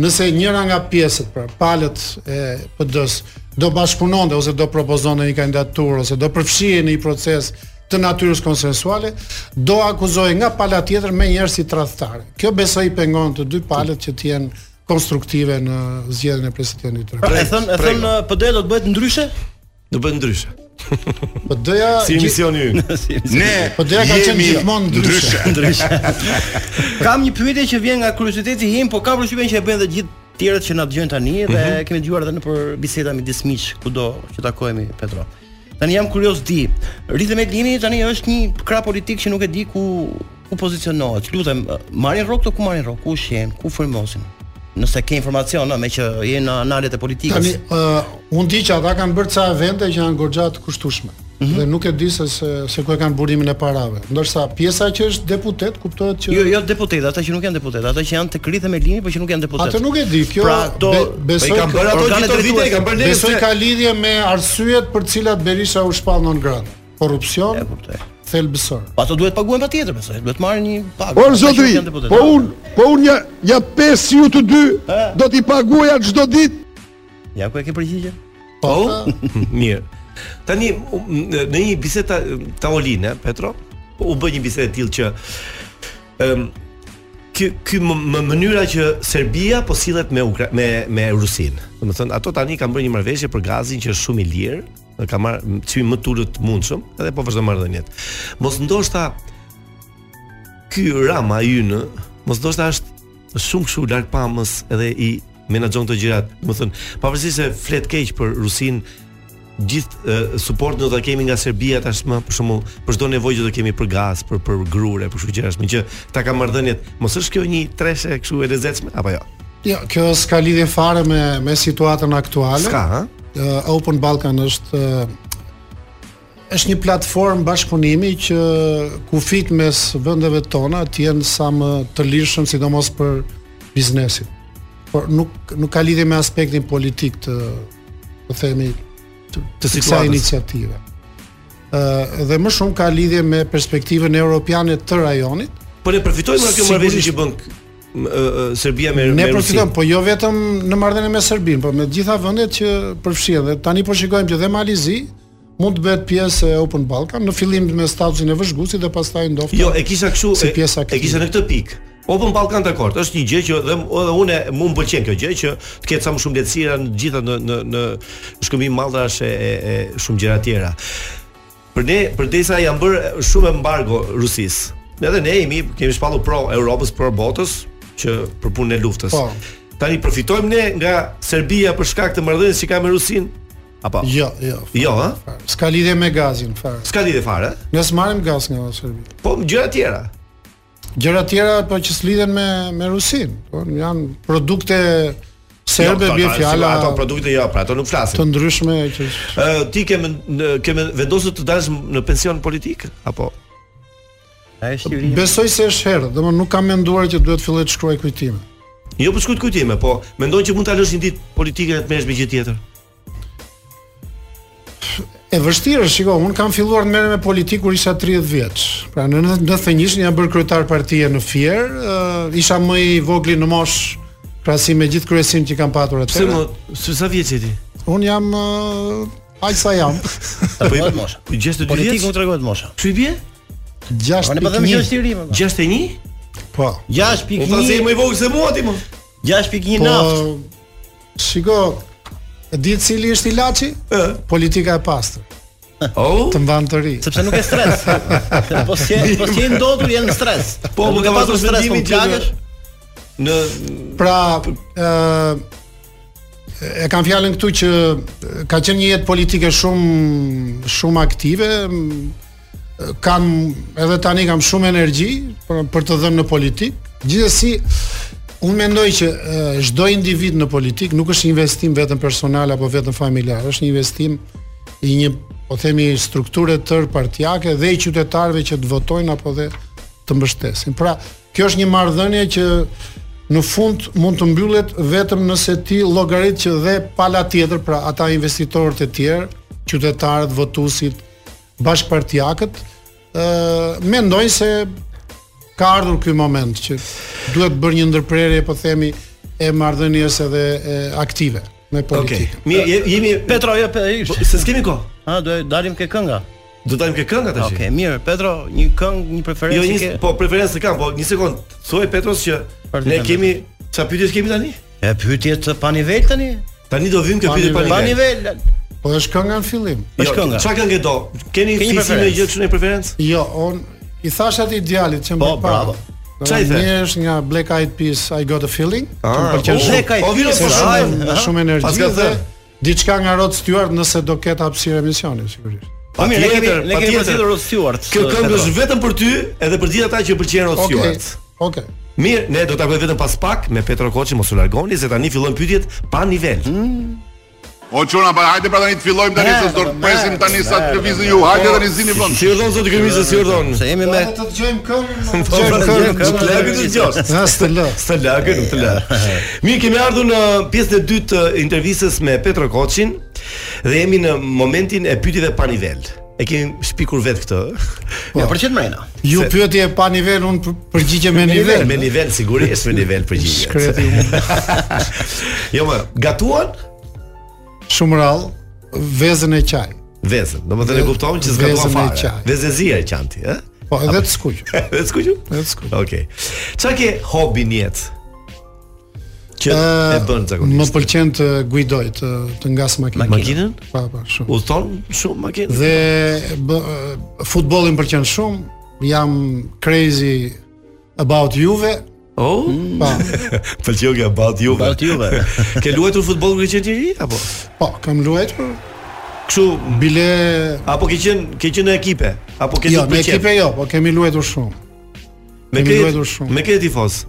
Speaker 12: nëse njëra nga pjesët, pra palët e PD-s do bashkëpunonte ose do propozonte një kandidaturë ose do përfshihej në një proces të natyrës konsensuale, do akuzohej nga pala tjetër me njerëz si tradhtarë. Kjo besoj i pengon të dy palët që të jenë konstruktive në zgjedhjen e presidentit të
Speaker 6: Pra e
Speaker 12: Republikës.
Speaker 6: thon e thon uh, PD do të bëhet ndryshe?
Speaker 7: Do bëhet ndryshe.
Speaker 12: PD-ja
Speaker 7: Si misioni ynë.
Speaker 12: Ne PD-ja ka qenë
Speaker 6: jemi
Speaker 12: gjithmonë ndryshe.
Speaker 6: Ndryshe. Kam një pyetje që vjen nga kurioziteti im, po kam përshtypjen që e bëjnë të gjithë tjerët që na dëgjojnë tani dhe kemi dëgjuar edhe në për biseda midis miq kudo që takohemi Petro. Tani jam kurioz di, rritëm e lini tani është një krah politik që nuk e di ku ku pozicionohet. Lutem, marrin rrok të ku marrin rrok, ku shjen, ku frymozin. Nëse ke informacion, ëh, me që je në analet e politikës.
Speaker 12: Tani uh, unë di që ata kanë bërë ca evente që janë goxha të kushtueshme.
Speaker 6: Mhm.
Speaker 12: Dhe nuk e di se se, se ku e kanë burimin e parave. Ndërsa pjesa që është deputet kuptohet që
Speaker 6: Jo, jo deputetë, ata që nuk janë deputetë, ata që janë të krithe me linjë, por po që nuk janë deputetë.
Speaker 12: Atë nuk e di, kjo
Speaker 6: pra, ato
Speaker 12: be- besoj
Speaker 6: i kanë
Speaker 12: ka-
Speaker 6: bërë ato gjithë
Speaker 12: organet
Speaker 6: ato vite, i kanë bërë
Speaker 12: Besoj ka lidhje me arsyet për cilat Berisha u shpall non grata. Korrupsion. E kuptoj. Thelbësor.
Speaker 6: Po ato duhet paguhen patjetër, besoj. Duhet marrin një pagë.
Speaker 14: Por
Speaker 6: Ata që
Speaker 14: zotri,
Speaker 6: nuk janë deputetë.
Speaker 14: po un, po un ja ja pesë ju të dy, do t'i paguaja çdo ditë.
Speaker 6: Ja ku e ke përgjigjen?
Speaker 7: Po, mirë. Tani u- në në një bisedë ta- tavoline, eh, Petro, u bë një bisedë e tillë që ëm ky ky më, më mënyra që Serbia po sillet me Ukra me me Rusinë. Domethënë ato tani kanë bërë një marrëveshje për gazin që është shumë i lirë, dhe ka marrë çmim më tulët të mundshëm, edhe po vazhdon marrëdhëniet. Mos ndoshta ky Rama ynë, mos ndoshta është shumë kështu larg pamës edhe i menaxhon këto gjërat. Domethënë, pavarësisht se flet keq për Rusin, gjithë e, supportin do ta kemi nga Serbia tashmë, për shembull, për çdo nevojë që do kemi për gaz, për për grure, për kështu gjëra, më që ta ka marrëdhëniet. Mos është kjo një treshe kështu e lezetshme apo jo?
Speaker 12: Jo, kjo s'ka lidhje fare me me situatën aktuale.
Speaker 7: S'ka, ha?
Speaker 12: Uh, Open Balkan është uh, është një platformë bashkëpunimi që kufit mes vendeve tona të jenë sa më të lirshëm, sidomos për biznesin. Por nuk nuk ka lidhje me aspektin politik të të themi të,
Speaker 7: Të
Speaker 12: kësaj
Speaker 7: situatës.
Speaker 12: iniciative. Ë dhe më shumë ka lidhje me perspektivën europiane të rajonit,
Speaker 7: Po ne përfitojmë nga kjo marrëveshje që bën m- e, e, Serbia me me
Speaker 12: Ne
Speaker 7: Rusin.
Speaker 12: përfitojmë, po jo vetëm në marrëdhënie me Serbinë, por me të gjitha vendet që përfshihen. Dhe tani po shikojmë që dhe Malizi mund të bëhet pjesë e Open Balkan në fillim me statusin e vëzhguesit dhe pastaj ndoftë.
Speaker 7: Jo, e kisha kështu
Speaker 12: si
Speaker 7: e-
Speaker 12: pjesë
Speaker 7: e kisha në këtë pikë. Po, Open Balkan Accord është një gjë që dhe edhe unë mua më pëlqen kjo gjë që të ketë sa më shumë lehtësira në gjitha në në në shkëmbim mallrash e, e, e shumë gjëra tjera. Për ne përdesa janë bërë shumë embargo Rusisë. Edhe ne jemi kemi shpallur pro Europës, pro botës që për punën e luftës.
Speaker 12: Po.
Speaker 7: Tani përfitojmë ne nga Serbia për shkak të marrëdhënies që ka me Rusin? Apo?
Speaker 12: Jo, jo.
Speaker 7: Jo, ha?
Speaker 12: S'ka lidhje me gazin fare.
Speaker 7: S'ka lidhje fare.
Speaker 12: Ne s'marrim gaz nga Serbia.
Speaker 7: Po gjëra tjera.
Speaker 12: Gjëra tjera po që s'lidhen me me Rusin, po janë produkte serbe
Speaker 7: Jo,
Speaker 12: bie
Speaker 7: ato-
Speaker 12: fjala
Speaker 7: ato produkte jo, pra ato nuk flasin.
Speaker 12: të ndryshme që
Speaker 7: Ë, ti ke men- në- ke men- vendosur të dalësh në pension politik apo?
Speaker 6: A është
Speaker 12: besoj se është herë, domethënë nuk kam menduar që duhet filloj të shkruaj kujtime.
Speaker 7: Jo për shkujt kujtime, po mendon që mund ta lësh një ditë politikën e të merresh me gjë tjetër.
Speaker 12: E vështirë, është, shiko, unë kam filluar të merrem me politikë kur isha 30 vjeç. Pra në 91-shin jam bërë kryetar partie në Fier, uh, isha më i vogli në mosh krahasim me gjithë kryesin që kam patur
Speaker 7: Pse
Speaker 12: atëherë.
Speaker 7: më se sa vjeç je ti?
Speaker 12: Unë jam uh, aq sa jam.
Speaker 7: Po i mosha. Po 62 vjeç.
Speaker 6: Politiku tregohet mosha.
Speaker 7: Çu i bie?
Speaker 6: Po ne po themi që është i ri,
Speaker 12: 6.1.
Speaker 6: më.
Speaker 7: 61?
Speaker 12: Po.
Speaker 6: 6.1.
Speaker 7: U tha se je më i vogël se mua ti më.
Speaker 6: 6.1 naft.
Speaker 12: Po, shiko, e di cili është ilaçi? Politika e pastër.
Speaker 7: Oh,
Speaker 12: të mban të ri.
Speaker 6: Sepse nuk e stres. Po s'je, po s'je ndotur janë në stres.
Speaker 7: Po, më
Speaker 6: Nuk
Speaker 7: ka
Speaker 6: e
Speaker 7: pasur
Speaker 6: pasur stres, po
Speaker 7: mendimin
Speaker 6: më
Speaker 7: që në-
Speaker 6: plagësh.
Speaker 7: Në
Speaker 12: Pra, ë e kam fjalën këtu që ka qenë një jetë politike shumë shumë aktive. m, Kam edhe tani kam shumë energji për, për të dhënë në politikë. Gjithsesi, unë mendoj që ë, çdo individ në politikë nuk është investim vetëm personal apo vetëm familjar, është një investim i një po themi strukture tër partijake dhe i qytetarëve që të votojnë apo dhe të mbështesin. Pra, kjo është një marrëdhënie që në fund mund të mbyllet vetëm nëse ti llogarit që dhe pala tjetër, pra ata investitorët e tjerë, qytetarët, votuesit, bashkëpartiakët, ë mendojnë se ka ardhur ky moment që duhet bërë një ndërprerje, po themi, e marrëdhënies edhe e, aktive me
Speaker 7: Okej.
Speaker 12: politikën.
Speaker 7: Mirë, je- jemi
Speaker 6: Petro, jo, pe, ish.
Speaker 7: Po, se s'kemi kohë.
Speaker 6: Ha, do dalim ke kënga.
Speaker 7: Do dalim ke kënga tash.
Speaker 6: Okej, mirë, Petro, një këngë, një preferencë
Speaker 7: Jo,
Speaker 6: jo,
Speaker 7: një,
Speaker 6: ke?
Speaker 7: po preferencë kam, po një sekond. Thuaj Petros që
Speaker 6: Për
Speaker 7: ne
Speaker 6: të
Speaker 7: kemi çfarë pyetjes kemi tani?
Speaker 6: E pyetje të pa nivel tani?
Speaker 7: Tani do vim kjo pyetje pa
Speaker 6: Pa
Speaker 7: nivel.
Speaker 6: nivel.
Speaker 12: Po është kënga në fillim.
Speaker 7: Jo, Çfarë këngë do? Keni
Speaker 6: Ke një
Speaker 7: fiksi në
Speaker 6: preferencë?
Speaker 7: gjë kështu në preferencë?
Speaker 12: Jo, on i thash atë idealit që më
Speaker 7: Po,
Speaker 12: para.
Speaker 7: bravo.
Speaker 12: Do
Speaker 7: Çfarë i
Speaker 12: thonë,
Speaker 7: the?
Speaker 12: Një është nga Black Eyed Peas I Got a Feeling. që më
Speaker 7: Ah,
Speaker 12: pëlqen
Speaker 7: o,
Speaker 12: shumë.
Speaker 7: Black Eyed
Speaker 12: Po, vjen
Speaker 7: Peas,
Speaker 12: po
Speaker 7: e
Speaker 12: shumë,
Speaker 7: shajnë, ha?
Speaker 12: shumë
Speaker 7: Pas
Speaker 12: energji
Speaker 7: ka
Speaker 12: dhe
Speaker 7: thënë.
Speaker 12: diçka nga Rod Stewart nëse do ketë hapësirë emisioni sigurisht.
Speaker 6: Po mirë, ne kemi
Speaker 7: Patjetër,
Speaker 6: ne kemi
Speaker 7: patjetër.
Speaker 6: përzgjedhur Rod Stewart.
Speaker 7: Kjo
Speaker 6: së-
Speaker 7: këngë
Speaker 6: Petro.
Speaker 7: është vetëm për ty edhe për gjithë ata që pëlqejnë Rod
Speaker 12: Okej.
Speaker 7: Stewart.
Speaker 12: Okej.
Speaker 7: Mirë, ne do
Speaker 6: Mm,
Speaker 7: të takojmë vetëm pas pak me Petro Koçi, mos u largoni se tani fillojnë pyetjet pa nivel.
Speaker 15: O çuna, pa hajde pra tani të fillojmë tani se do të presim tani sa të lëvizin ju. Hajde tani zini vend.
Speaker 7: po, Si urdhon zoti Kërmisa, si urdhon?
Speaker 6: po. Se jemi me
Speaker 12: të dëgjojmë këngën.
Speaker 7: Po, po, po, të lagë të dëgjosh.
Speaker 12: Na s'të lë.
Speaker 7: S'të lagë, nuk të lë. Mirë, kemi ardhur në pjesën e dytë të intervistës me Petro Koçin dhe jemi në momentin e pyetjeve pa nivel. E kemi shpikur vetë këtë.
Speaker 6: Po, ja, për çet mrena.
Speaker 12: Ju pyetje pa nivel, unë përgjigje me nivel.
Speaker 7: Me nivel sigurisht, me nivel përgjigje.
Speaker 12: Shkreti
Speaker 7: Jo, më gatuan?
Speaker 12: Shumë rall, vezën e qaj.
Speaker 7: Vezën, do më të ne kuptojmë që zgatuan
Speaker 12: Vezën e
Speaker 7: fare.
Speaker 12: qaj.
Speaker 7: Vezën zia e qanti, eh? ë?
Speaker 12: Po, edhe të skuq.
Speaker 7: Edhe të skuqju?
Speaker 12: Edhe të skuq.
Speaker 7: Okej. Çka ke hobi në jetë? Që e bën zakonisht.
Speaker 12: Më pëlqen të guidoj, të të ngas makinën.
Speaker 7: Makinën?
Speaker 12: Po, po, shumë.
Speaker 7: Udhton shumë makinë?
Speaker 12: Dhe bë, futbolli më pëlqen shumë. Jam crazy about Juve.
Speaker 7: Oh,
Speaker 12: Po,
Speaker 7: pëlqeu jo, ke about Juve.
Speaker 6: About Juve.
Speaker 7: Ke luajtur futboll kur ke qenë i ri apo?
Speaker 12: po, kam luajtur.
Speaker 7: Kështu
Speaker 12: Bile
Speaker 7: apo ke qenë ke qenë në ekipe apo ke
Speaker 12: jo,
Speaker 7: qenë
Speaker 12: me ekipe jo, po kemi luajtur shumë.
Speaker 7: Me
Speaker 12: kemi
Speaker 7: kre
Speaker 12: luajtur shumë.
Speaker 7: me kre tifoz.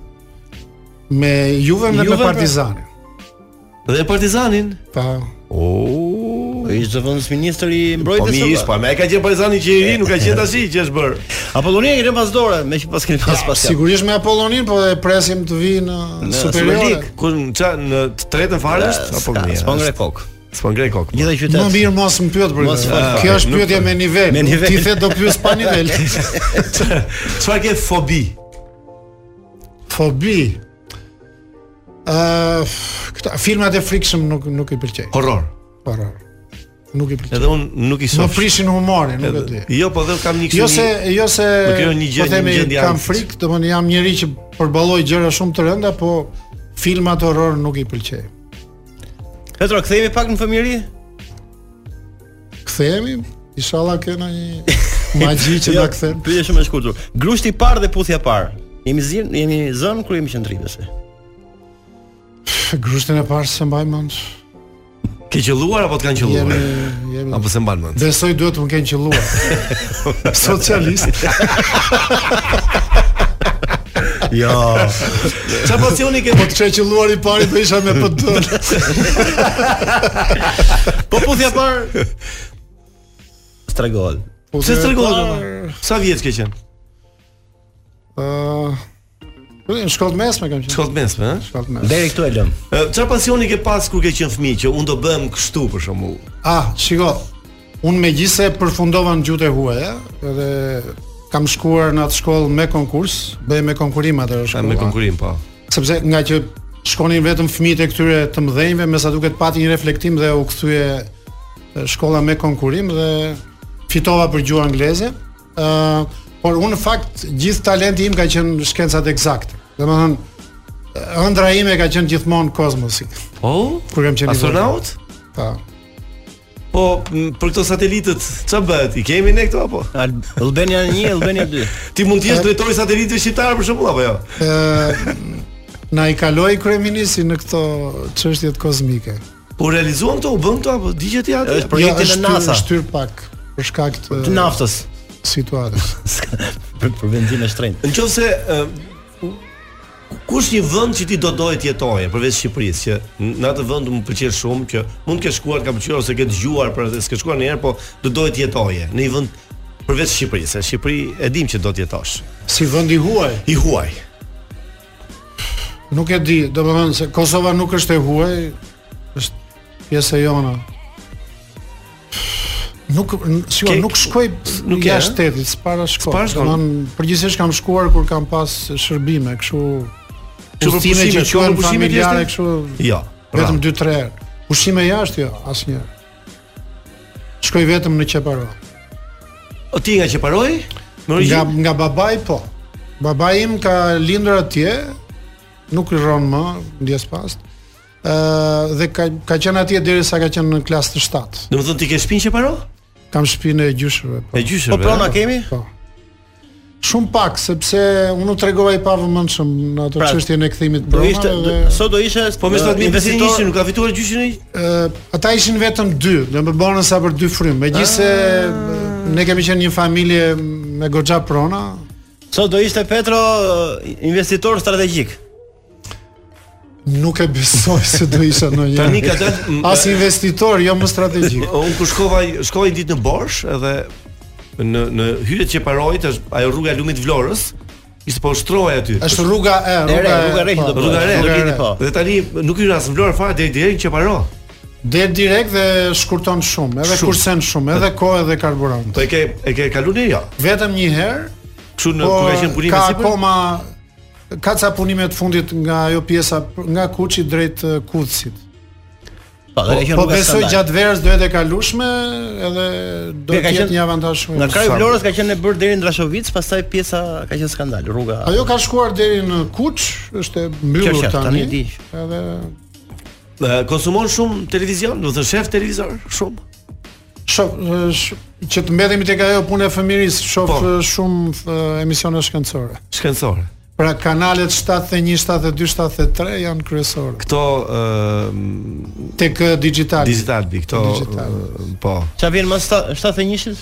Speaker 12: Me Juve dhe
Speaker 6: Juve,
Speaker 12: me
Speaker 6: pra.
Speaker 12: Partizanin.
Speaker 7: Dhe Partizanin.
Speaker 12: Po.
Speaker 7: Oh.
Speaker 6: Ishte vëndësministër i
Speaker 7: Po
Speaker 6: mbrojtjes.
Speaker 7: mi ish, po më e ka qenë Partizani që i ri, nuk ka qenë tash që është bër.
Speaker 6: Apollonia i lëm pas dore, me që pas keni pas pas.
Speaker 12: Sigurisht me Apollonin, po e presim të vi në superiore.
Speaker 7: ku në ça në të tretën fare
Speaker 6: Ska-
Speaker 7: është apo mirë?
Speaker 6: s'po ngre kok.
Speaker 7: S'po ngre kok. po.
Speaker 6: Gjithë
Speaker 12: Më
Speaker 6: qytet.
Speaker 12: mirë mos më pyet për
Speaker 6: Mos
Speaker 12: këtë.
Speaker 6: fol.
Speaker 12: Kjo është
Speaker 7: nuk-
Speaker 12: pyetje me nivel.
Speaker 6: Me nivel.
Speaker 12: Ti the do pyes pa nivel.
Speaker 7: Çfarë ke fobi?
Speaker 12: Fobi. Ëh, këta filmat e frikshëm nuk nuk i pëlqej.
Speaker 7: Horror.
Speaker 12: Horror. Nuk i pëlqej.
Speaker 7: Edhe un nuk i shoh.
Speaker 12: Më prishin humorin, nuk e di.
Speaker 7: Jo, po dhe kam një kështu.
Speaker 12: Jo se jo se
Speaker 7: Më krijon një gjë-
Speaker 12: po themi
Speaker 7: një gjendje
Speaker 12: kam
Speaker 7: angsti.
Speaker 12: frikë, domethënë jam njëri që përballoj gjëra shumë të rënda, po filmat horror nuk i pëlqej.
Speaker 6: Petro, kthehemi pak në fëmijëri?
Speaker 12: Kthehemi, inshallah kena një magji që
Speaker 6: Jo,
Speaker 12: na kthen.
Speaker 6: Pyetje shumë e shkurtër. Grushti i parë dhe puthja e parë. Jemi zin, jemi zën kur jemi qendrimës.
Speaker 12: Grushtin e parë se mbaj mend.
Speaker 7: Ke qelluar apo të kanë qelluar?
Speaker 12: Jemi jemi
Speaker 7: Apo se mban mend.
Speaker 12: Besoj duhet të më kenë qelluar. Socialist.
Speaker 7: Jo. Çfarë pasioni ke?
Speaker 12: Po të kisha qelluar i pari do isha me PD.
Speaker 6: Po puthja e parë stregohet.
Speaker 12: Po
Speaker 7: Pse tregon Sa vjeç ke qenë?
Speaker 12: Ëh. Në shkollë mesme kam qenë.
Speaker 7: Shkollë mesme, ëh?
Speaker 12: Shkollë mesme.
Speaker 6: Deri këtu e lëm.
Speaker 7: Çfarë pasioni ke pas kur ke qenë fëmijë që unë do bëhem kështu për shembull?
Speaker 12: Ah, shiko. Unë me gjithse përfundova në gjutë e huaja, edhe kam shkuar në atë shkollë me konkurs, bëj me konkurim atë
Speaker 7: Ta
Speaker 12: shkollë.
Speaker 7: me konkurim, po.
Speaker 12: Sepse nga që shkonin vetëm fëmijët e këtyre të mëdhenjve, me sa duket pati një reflektim dhe u kthye e, shkolla me konkurim dhe fitova për gjuhë angleze. Ë, por unë në fakt gjithë talenti im ka qenë shkencat eksakte. Domethënë ëndra ime ka qenë gjithmonë kozmosi.
Speaker 7: Po?
Speaker 12: Kur kam qenë i
Speaker 7: Astronaut?
Speaker 12: vogël. Po.
Speaker 7: Po, m, për këto satelitët, ç'a bëhet? I kemi ne këto apo?
Speaker 6: Al- Albania 1, Albania 2.
Speaker 7: Ti mund të jesh drejtori i satelitëve shqiptar për shembull apo jo?
Speaker 12: Ë, na i kaloi kryeministri në këto çështjet kozmike. Jo,
Speaker 7: Po realizuan këto, u bën këto apo digjet ja?
Speaker 6: Është projekti në NASA.
Speaker 12: shtyr pak për shkak të
Speaker 6: Të naftës.
Speaker 12: situatës.
Speaker 6: Për, për vendimin e shtrenjtë.
Speaker 7: Në qoftë se ë, kush një vend që ti do doje të jetoje përveç Shqipërisë, që në atë vend më pëlqen shumë që mund të ke shkuar, ka pëlqyer ose ke dëgjuar, por edhe s'ke shkuar ndonjëherë, po do doje të jetoje në një vend përveç Shqipërisë. se Në Shqipëri e dim që do të jetosh.
Speaker 12: Si vendi huaj.
Speaker 7: I huaj.
Speaker 12: Nuk e di, do të thënë se Kosova nuk është e huaj, është pjesë e jona. Nuk n- si
Speaker 7: Ke-
Speaker 12: jo, nuk shkoj
Speaker 7: nuk
Speaker 12: nuk
Speaker 7: e,
Speaker 12: jashtë shtetit, s'para shkoj.
Speaker 7: S'para shkon.
Speaker 12: Domethënë, përgjithsisht kam shkuar kur kam pas shërbime, kështu
Speaker 7: Kështu për
Speaker 12: udhëtime
Speaker 7: pushime,
Speaker 12: që Pra.
Speaker 7: shkuar
Speaker 12: quhen
Speaker 7: për pushime
Speaker 12: familjare
Speaker 7: t'jeshte?
Speaker 12: kështu
Speaker 7: Jo.
Speaker 12: vetëm
Speaker 7: bravo.
Speaker 12: 2-3 herë. Ushqime jashtë jo, asnjë. Shkoj vetëm në Qeparo.
Speaker 7: O ti nga Qeparoi? Me
Speaker 12: Nga
Speaker 7: origjinë?
Speaker 12: nga babai po. Babai im ka lindur atje, nuk i rron më ndjes pas. Ë dhe ka ka qenë atje derisa ka qenë në klasë të 7.
Speaker 7: Domethënë ti ke shtëpinë Qeparo?
Speaker 12: Kam shtëpinë e gjyshëve. Po.
Speaker 7: E
Speaker 6: Po
Speaker 7: gjyshëve.
Speaker 6: prona kemi?
Speaker 12: Po. Shumë pak sepse unë u tregova i pavëmendshëm në atë
Speaker 6: Pra,
Speaker 12: çështjen e kthimit
Speaker 6: Do
Speaker 12: broma
Speaker 6: ishte
Speaker 12: dhe
Speaker 6: sot do ishte
Speaker 7: Po me 7000 pesë
Speaker 6: investitor-
Speaker 7: nuk ka fituar gjyshin ai?
Speaker 12: ë, ata ishin vetëm dy, do më bënën sa për dy frymë. Megjithse
Speaker 6: Ah.
Speaker 12: ne kemi qenë një familje me goxha prona,
Speaker 6: Sot do ishte Petro investitor strategjik.
Speaker 12: Nuk e besoj se do isha ndonjë.
Speaker 7: Tani ka dalë-
Speaker 12: as investitor, jo më strategjik.
Speaker 7: Un ku shkova, shkova një ditë në Borsh edhe në në hyjet që parojit është ajo rruga e lumit Vlorës. Ishte po shtrohej aty.
Speaker 12: Është rruga e rruga po.
Speaker 7: Rruga e re, do gjeni po. Dhe tani nuk hyn as në Vlorë fare deri deri që paro.
Speaker 12: Del direkt dhe shkurton shumë, edhe
Speaker 7: Shumë.
Speaker 12: kursen shumë, edhe kohë edhe karburant.
Speaker 7: Po e ke e ke kaluar jo?
Speaker 12: Vetëm një herë, po
Speaker 7: Kështu në kur ka qenë punimi
Speaker 12: ka
Speaker 7: sipër?
Speaker 12: akoma ka ca punime të fundit nga ajo pjesa nga Kuçi drejt eh, Kucit.
Speaker 6: Po, dhe ka qenë
Speaker 12: po
Speaker 6: rruga
Speaker 12: besoj
Speaker 6: standard.
Speaker 12: gjatë verës do jetë e kalueshme edhe do
Speaker 6: Mirë, ka
Speaker 12: të jetë
Speaker 6: qenë-
Speaker 12: një avantazh shumë.
Speaker 6: Nga kraju i Vlorës ka qenë e bërë deri në Drashovic, pastaj pjesa ka qenë skandal, rruga.
Speaker 12: Ajo ka shkuar deri në Kuç, është e
Speaker 6: Kjo
Speaker 12: mbyllur
Speaker 6: është,
Speaker 12: tani.
Speaker 6: tani di.
Speaker 12: Edhe
Speaker 7: Dhe konsumon shumë televizion, do të thënë shef televizor shumë.
Speaker 12: shoh eh, sh- që të mbetemi tek ajo punë e fëmirisë, shoh
Speaker 7: Po.
Speaker 12: eh, shumë eh, emisione shkencore.
Speaker 7: Shkencore.
Speaker 12: Pra kanalet 71, 72, 73 janë kryesore.
Speaker 7: Këto ë
Speaker 12: tek digital.
Speaker 7: Digital bi, këto
Speaker 12: Digital.
Speaker 7: ë, po.
Speaker 6: Ça vjen më 71-shit?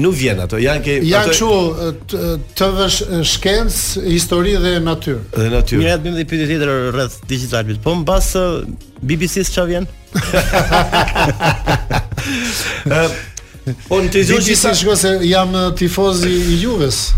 Speaker 7: Nuk vjen ato, janë ke
Speaker 12: Janë
Speaker 7: ato-
Speaker 12: kështu t- TV sh- shkencë, histori dhe natyrë.
Speaker 7: Dhe natyrë.
Speaker 6: Mirë, atë bëjmë dhe pyetje tjetër rreth digitalit. Po mbas uh, BBC-s ç'a vjen?
Speaker 7: Po në
Speaker 12: Ti
Speaker 7: televizion që
Speaker 12: si
Speaker 7: sa
Speaker 12: shko se jam eh, tifoz i i Juves.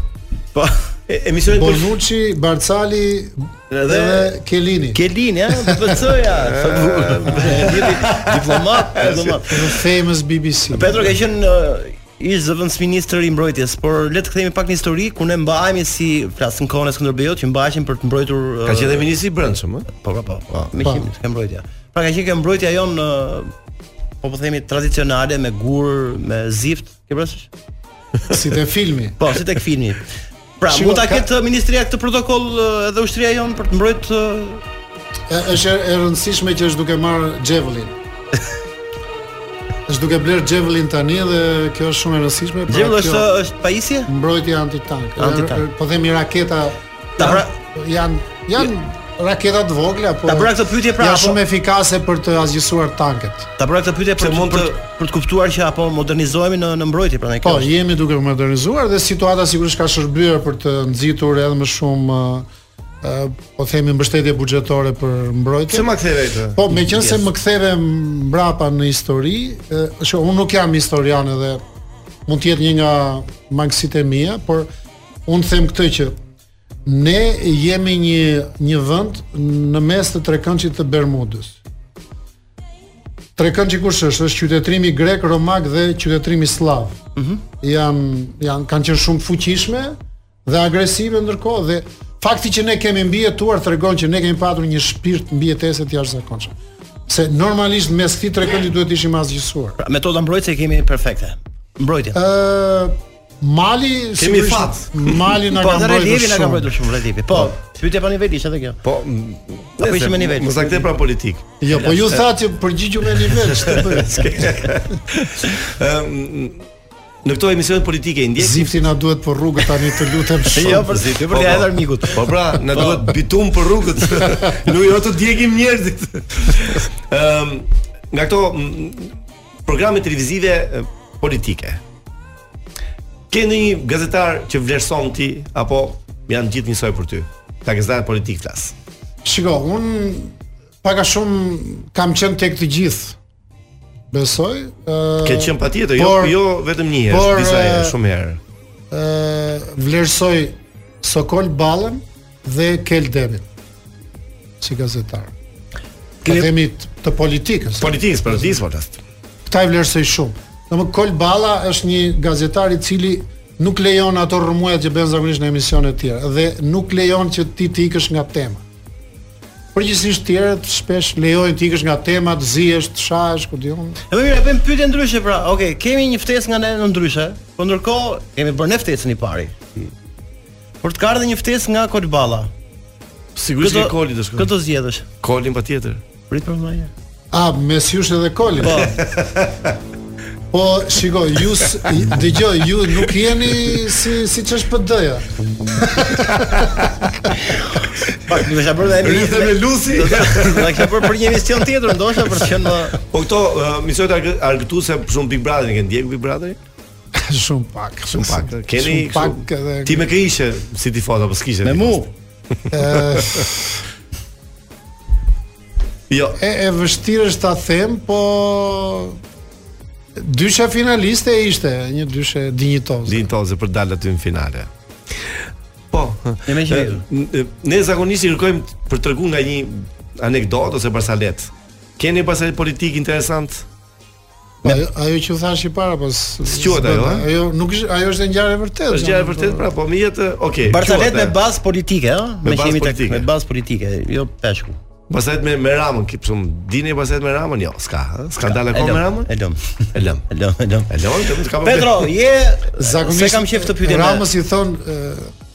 Speaker 6: Po
Speaker 7: e- emisionin për-
Speaker 12: Bonucci, Barcali
Speaker 7: Edhe-
Speaker 12: dhe Kelini.
Speaker 6: Kelini, ha, BC-ja. Diplomat, diplomat.
Speaker 12: The famous BBC.
Speaker 6: Petro ka qenë uh, ish zëvendësministër i mbrojtjes, por le të kthehemi pak në histori ku ne mbahemi si flas në kohën e Skënderbeut që mbaheshin për të mbrojtur uh,
Speaker 7: Ka qenë dhe ministri i brendshëm, ë?
Speaker 12: Pra,
Speaker 6: Po, po, po. po. Me qim të kem mbrojtja. Pra ka qenë kjo mbrojtja jon uh, po po themi tradicionale me gur, me zift, ke parasysh?
Speaker 12: Si te filmi.
Speaker 6: Po, si tek filmi. Pra,
Speaker 12: Shiko,
Speaker 6: mund ta
Speaker 12: ka-
Speaker 6: ketë ministria këtë protokoll uh, edhe ushtria jon për të mbrojtë uh,
Speaker 12: E- Është e- e rëndësishme që është duke marr Javelin. është duke bler Javelin tani dhe kjo është shumë e rëndësishme. pra
Speaker 6: Javelin
Speaker 12: kjo-
Speaker 6: është- është pajisje?
Speaker 12: Mbrojtje antitank.
Speaker 6: Antitank.
Speaker 12: Er- er- Po themi raketa
Speaker 6: Ta pra-
Speaker 12: janë janë raketa të vogla, po.
Speaker 6: Ta bëra këtë pyetje pra,
Speaker 12: Janë
Speaker 6: apo-
Speaker 12: shumë efikase për të asgjësuar tanket.
Speaker 6: Ta bëra këtë pyetje
Speaker 12: Se
Speaker 6: për të,
Speaker 12: mund
Speaker 6: për, të, për të kuptuar që apo modernizohemi në në mbrojtje pra, prandaj
Speaker 12: Po, jemi duke modernizuar dhe situata sigurisht ka shërbyer për të nxitur edhe më shumë ë, ë, po themi mbështetje buxhetore për mbrojtje.
Speaker 7: Pse ma ktheve këtë?
Speaker 12: Po, meqense më ktheve mbrapa në histori, ë, shë, unë nuk jam historian edhe mund të jetë një nga mangësitë e mia, por unë them këtë që ne jemi një një vend në mes të trekëndshit të Bermudës. Trekëndshi kush është? Është qytetërimi grek, romak dhe qytetërimi slav. Mhm. janë janë kanë qenë shumë fuqishme dhe agresive ndërkohë dhe fakti që ne kemi mbijetuar tregon që ne kemi pasur një shpirt mbijetese të jashtëzakonshme. Se normalisht mes këtij trekëndi duhet ishim asgjësuar.
Speaker 6: Pra, metoda mbrojtëse e kemi perfekte. Mbrojtje.
Speaker 12: Ë Mali sigurisht,
Speaker 6: Po,
Speaker 12: Mali na ka mbrojtur
Speaker 6: relievi na ka
Speaker 12: shumë.
Speaker 6: mbrojtur shumë relievi. Po, pyetja pa nivelisht edhe kjo.
Speaker 7: Po,
Speaker 6: apo ishim me nivel.
Speaker 7: Mos ta kthe pra politik.
Speaker 12: Jo, po ju thatë që përgjigju me nivel, ç'të bëj.
Speaker 7: Ëm Ehm, në këto emisione politike i ndjek
Speaker 12: Zifti na duhet për rrugë tani të lutem shumë.
Speaker 7: Jo, për zifti, për
Speaker 12: Po,
Speaker 7: t'ia
Speaker 12: po.
Speaker 7: hedhur mikut. Po pra, na duhet bitum për rrugët. Nuk jo të djegim njerëzit. Ëm nga këto mm, programe televizive e, politike. Ke ndonjë gazetar që vlerëson ti apo janë gjithë njësoj për ty? Ta gazetar politik flas.
Speaker 12: Shiko, un pak a shumë kam qenë tek të gjithë. Besoj. ë
Speaker 7: Ke qenë patjetër, jo jo vetëm një herë,
Speaker 12: por,
Speaker 7: disa herë,
Speaker 12: e,
Speaker 7: shumë herë.
Speaker 12: ë vlerësoj Sokol Ballën dhe Kel Demin si gazetar. Kemi themi t- të politikës.
Speaker 7: Politikës, politikës po last.
Speaker 12: Këta i vlerësoj shumë. Domthon Kol Balla është një gazetar i cili nuk lejon ato rrëmuja që bën zakonisht në emisione të tjera dhe nuk lejon që ti të ikësh nga tema. Përgjithsisht tjerët shpesh lejojnë të ikësh nga tema, të zihesh, të shahesh, ku diun.
Speaker 6: E më mirë, e bëjmë pyetje ndryshe pra. Okej, kemi një ftesë nga ne në ndryshe, po ndërkohë kemi bërë ne ftesën i pari. Por të ka ardhur një ftesë nga Kolballa.
Speaker 7: Sigurisht
Speaker 6: Këto-
Speaker 7: ke koli të shkon.
Speaker 6: Këto zgjedhësh.
Speaker 7: Kolin patjetër.
Speaker 6: Prit për mëje.
Speaker 12: A, mes jush edhe koli.
Speaker 6: Po.
Speaker 12: po, shiko, ju s- i- dëgjoj, ju nuk jeni si si ç'është PD-ja.
Speaker 6: Pak do të bërë edhe
Speaker 7: Rrithe me Lusi.
Speaker 6: Do ta kisha bërë për një emision tjetër ndoshta për të qenë më
Speaker 7: Po këto uh, misionet argë- argëtuese për shumë Big Brother, e ke ndjekur Big Brother?
Speaker 12: Shumë pak,
Speaker 7: shumë pak. uh, Keni
Speaker 12: Shumë pak
Speaker 7: kështu-
Speaker 12: edhe-
Speaker 7: Ti me ke ishe si tifo apo s'kishe? Me
Speaker 6: mu.
Speaker 12: Ë,
Speaker 7: Jo.
Speaker 12: E, e vështirë është ta them, po dysha finaliste ishte, një dyshe dinjitoze.
Speaker 7: Dinjitoze për dalë aty në finale. Po.
Speaker 6: Ne më qenë.
Speaker 7: Ne zakonisht i kërkojmë për tregu nga një anekdot ose barsalet. Keni barsalet politik interesant?
Speaker 12: Me... Ajo, ajo që u thash i para, po
Speaker 7: s'quhet ajo, ëh?
Speaker 12: Ajo nuk është, ajo është ngjarje vërtetë.
Speaker 7: Është ngjarje vërtetë, pra, po më jetë, okay.
Speaker 6: Barsalet me bazë politike, ëh?
Speaker 7: Me
Speaker 6: Me
Speaker 7: bazë
Speaker 6: qemi tek
Speaker 7: politike. Po,
Speaker 6: me bazë politike, jo peshku.
Speaker 7: Barsalet me me Ramën, kip shumë dini barsalet me Ramën? Jo, s'ka, ëh? S'ka
Speaker 6: e
Speaker 7: dalë akoma
Speaker 6: lëm,
Speaker 7: me Ramën?
Speaker 6: E lëm.
Speaker 7: E lëm.
Speaker 6: E lëm, e lëm.
Speaker 7: E lëm, të s'ka problem.
Speaker 6: Petro, je
Speaker 12: po. Zakonisht
Speaker 6: se kam qef të pyetjem.
Speaker 12: Ramos i thon e,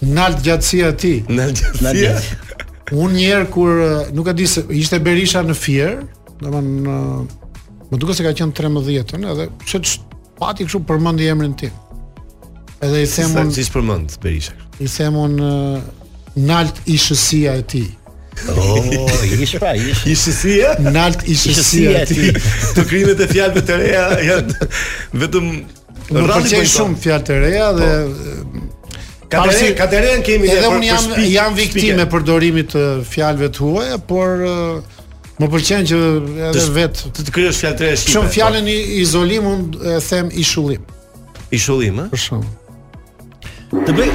Speaker 12: nalt gjatësia e tij.
Speaker 7: Nalt
Speaker 6: gjatësia.
Speaker 12: Unë një herë kur e, nuk e di se ishte Berisha në Fier, domethënë më duket se ka qenë 13-ën, edhe pse ç- pati kështu përmendi emrin tim. Edhe i them
Speaker 7: Sa-
Speaker 12: unë
Speaker 7: Siç përmend Berisha.
Speaker 12: i them unë e, nalt ishësia e tij.
Speaker 6: Oh, ish pra, ish.
Speaker 7: Ishësia?
Speaker 12: Nalt ishësia e tij.
Speaker 7: Të krimet e fjalëve të reja janë vetëm
Speaker 12: Më
Speaker 7: rralli
Speaker 12: pëlqejnë
Speaker 7: bojton.
Speaker 12: shumë fjalë të reja dhe
Speaker 7: Katere- Katerën kemi ne
Speaker 12: edhe
Speaker 7: Po. për-
Speaker 12: unë
Speaker 7: për
Speaker 12: jam
Speaker 7: shpik-
Speaker 12: jam
Speaker 7: shpike.
Speaker 12: viktime përdorimit të fjalëve të huaja, por ë, më pëlqen që
Speaker 7: Të
Speaker 12: edhe
Speaker 7: sh-
Speaker 12: vetë
Speaker 7: të të kryesh fjalë të reja shqipe.
Speaker 12: po- Shumë fjalën i izolim unë e them ishullim.
Speaker 7: I shullim, ëh?
Speaker 12: Për shkak.
Speaker 6: Të bëj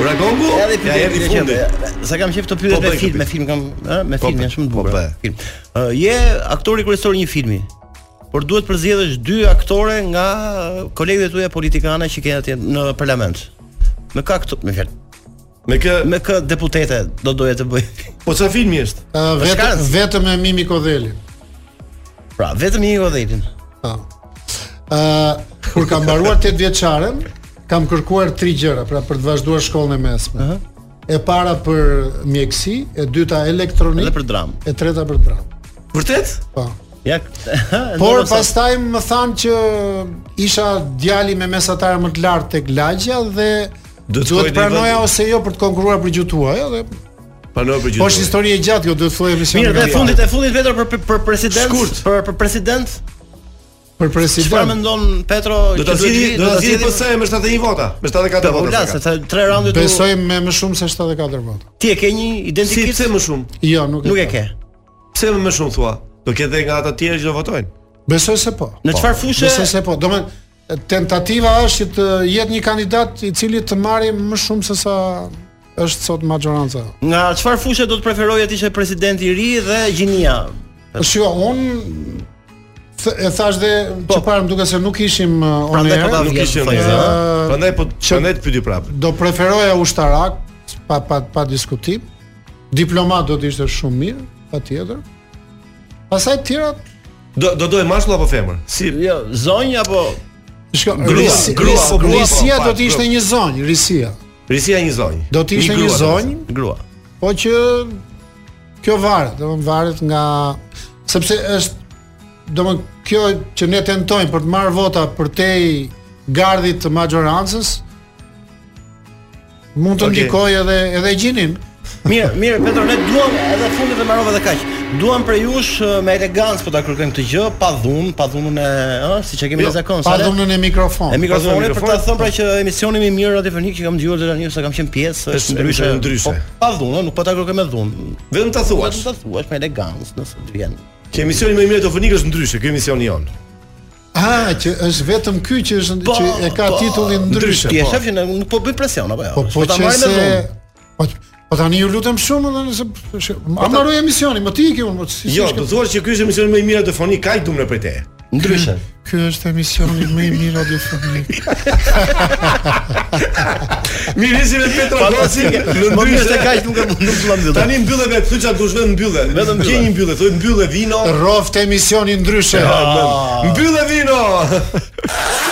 Speaker 7: Uragongu?
Speaker 6: Ja dhe
Speaker 7: Ja, jeri
Speaker 6: pyetje
Speaker 7: fundi.
Speaker 6: Sa kam qef të
Speaker 7: Po
Speaker 6: pyet me
Speaker 7: bëj këtë
Speaker 6: film, me
Speaker 7: pyetje.
Speaker 6: film kam, ëh, me
Speaker 7: Po
Speaker 6: film
Speaker 7: bëj,
Speaker 6: janë shumë të
Speaker 7: po
Speaker 6: bukura.
Speaker 7: bëj.
Speaker 6: Film. Ë, je aktori kryesor i një filmi. Por duhet përzgjedhësh dy aktore nga ë, kolegët tuaja politikanë që kanë atje në parlament. Me kë aktor, me fjalë.
Speaker 7: Me kë
Speaker 6: me kë deputete do doje të bëj?
Speaker 7: Po çfarë filmi është?
Speaker 12: Ë, vetëm
Speaker 6: Bashkarës.
Speaker 12: vetëm me Mimi Kodhelin.
Speaker 6: Pra, vetëm një godhetin.
Speaker 12: Po. Ë, kur kam mbaruar 8 vjeçaren, kam kërkuar 3 gjëra, pra për të vazhduar shkollën e mesme. E para për mjekësi, e dyta elektronik
Speaker 6: Edhe për dramë.
Speaker 12: e treta për dramë.
Speaker 7: Vërtet?
Speaker 12: Po.
Speaker 6: Ja.
Speaker 12: Por
Speaker 6: ndërsa-
Speaker 12: pastaj më thanë që isha djali me mesatarë më të lartë tek lagja dhe
Speaker 7: Do të
Speaker 12: duhet
Speaker 7: shkoj në
Speaker 12: pranoja
Speaker 7: vend-
Speaker 12: ose jo për të konkuruar për gjutuaj, edhe
Speaker 7: Panor për gjithë.
Speaker 12: po është histori e gjatë, jo duhet të filloj misionin.
Speaker 6: Mirë, dhe
Speaker 12: nga
Speaker 6: fundit
Speaker 12: parë.
Speaker 6: e fundit vetëm për për president, për për president.
Speaker 12: për
Speaker 6: Çfarë
Speaker 12: president.
Speaker 6: mendon Petro?
Speaker 7: Do
Speaker 6: që
Speaker 7: ta zgjidhë,
Speaker 6: vi-
Speaker 7: do ta zgjidhë
Speaker 6: vi-
Speaker 7: PS me 71 vota, me 74
Speaker 6: Po
Speaker 7: vota.
Speaker 6: la, se
Speaker 7: s'ka.
Speaker 6: tha- tre raundet u.
Speaker 12: Besoj me më shumë se 74 vota.
Speaker 6: Ti e ke një identikit?
Speaker 7: Si pse më shumë?
Speaker 12: Jo, nuk e
Speaker 6: Nuk e
Speaker 12: kam.
Speaker 6: ke.
Speaker 7: Pse më shumë thua? Do ketë edhe nga ata të tjerë që do votojnë.
Speaker 12: Besoj se po.
Speaker 6: Në çfarë fushë?
Speaker 12: Besoj se po. Domethënë tentativa është që të jetë një kandidat i cili të marrë më shumë se sa është sot majoranca.
Speaker 6: Nga çfarë fushë do të preferoje ti që president i ri dhe gjinia?
Speaker 12: Shiko, un th- e thash dhe
Speaker 7: Po.
Speaker 12: që parë më duket se nuk ishim uh, on
Speaker 6: Prandaj po ta
Speaker 12: air.
Speaker 7: Nuk
Speaker 6: vjen.
Speaker 7: ishin.
Speaker 6: thonjë,
Speaker 7: ëh.
Speaker 6: ëh.
Speaker 7: Prandaj po prandaj të pyeti prapë.
Speaker 12: Do preferoja ushtarak pa pa pa diskutim. Diplomat do të ishte shumë mirë, patjetër. Pastaj të tjerat
Speaker 7: Do do doj mashkull apo femër? Si
Speaker 6: Jo, zonjë apo
Speaker 12: Shiko,
Speaker 7: Grua,
Speaker 12: risi-
Speaker 7: grua,
Speaker 12: risi-
Speaker 7: po, grua, po,
Speaker 12: risia
Speaker 7: pa,
Speaker 12: do të ishte
Speaker 7: grua.
Speaker 12: një zonjë, risia.
Speaker 7: Risia një zonjë.
Speaker 12: Do të ishte
Speaker 7: grua,
Speaker 12: një zonjë,
Speaker 6: grua.
Speaker 12: Po që kjo varet, domthon varet nga sepse është domthon kjo që ne tentojmë për të marrë vota për tej gardhit të majorancës mund të
Speaker 7: Okej.
Speaker 12: ndikojë edhe edhe gjinin.
Speaker 6: Mirë, mirë Petro, ne duam edhe fundit e mbarova dhe kaq. Duam për jush ëh, me elegancë po ta kërkojmë këtë gjë, pa dhunë, pa dhunën e, ëh, siç e kemi
Speaker 7: Jo,
Speaker 6: në zakon.
Speaker 12: Pa
Speaker 6: sa le?
Speaker 12: dhunën e
Speaker 6: E
Speaker 12: mikrofonit.
Speaker 6: mikrofonit për ta
Speaker 7: mikrofonit.
Speaker 6: thënë pra që emisioni më i mirë radiofonik që kam dëgjuar deri tani se kam qenë pjesë
Speaker 7: Është ndryshe, ndryshe. Po,
Speaker 6: Po, pa dhunë, nuk po ta kërkoj me dhunë.
Speaker 7: Vetëm ta thuash.
Speaker 6: Vetëm ta thuash me elegancë nëse të vjen.
Speaker 7: Që emisioni më i mirë radiofonik është ndryshe, ky emisioni jon.
Speaker 12: Ah, që është vetëm ky që është
Speaker 6: Po,
Speaker 12: që é e ka
Speaker 6: po,
Speaker 12: titullin ndryshe.
Speaker 6: Ti e
Speaker 12: po.
Speaker 6: shef që ne nuk po bëj presion apo jo.
Speaker 12: Po po
Speaker 6: ta
Speaker 12: që
Speaker 6: marrim me
Speaker 12: se é
Speaker 6: dhunë.
Speaker 12: po, po tani ju lutem shumë edhe nëse
Speaker 6: Po
Speaker 12: a mbaroj emisionin, më ti i ke unë, po si
Speaker 7: Jo,
Speaker 12: s'ke-
Speaker 7: do thuash që ky është emisioni më i mirë radiofonik, kaq dumre prej teje.
Speaker 6: Ndryshe.
Speaker 12: Ky është emisioni më i mirë radiofonik.
Speaker 7: Mirisi me Petra Goci. në
Speaker 6: Më mirë
Speaker 12: é
Speaker 6: se
Speaker 7: ndryshe.
Speaker 6: kaq nuk e nuk vëllëm mbyll.
Speaker 7: Tani mbyllë vetë, thuaj çfarë dush vetëm mbyllë.
Speaker 6: Vetëm mbyllë.
Speaker 7: Gjej një mbyllë, thuaj mbyllë vino.
Speaker 12: Rroft emisioni ndryshe.
Speaker 7: Mbyllë vino.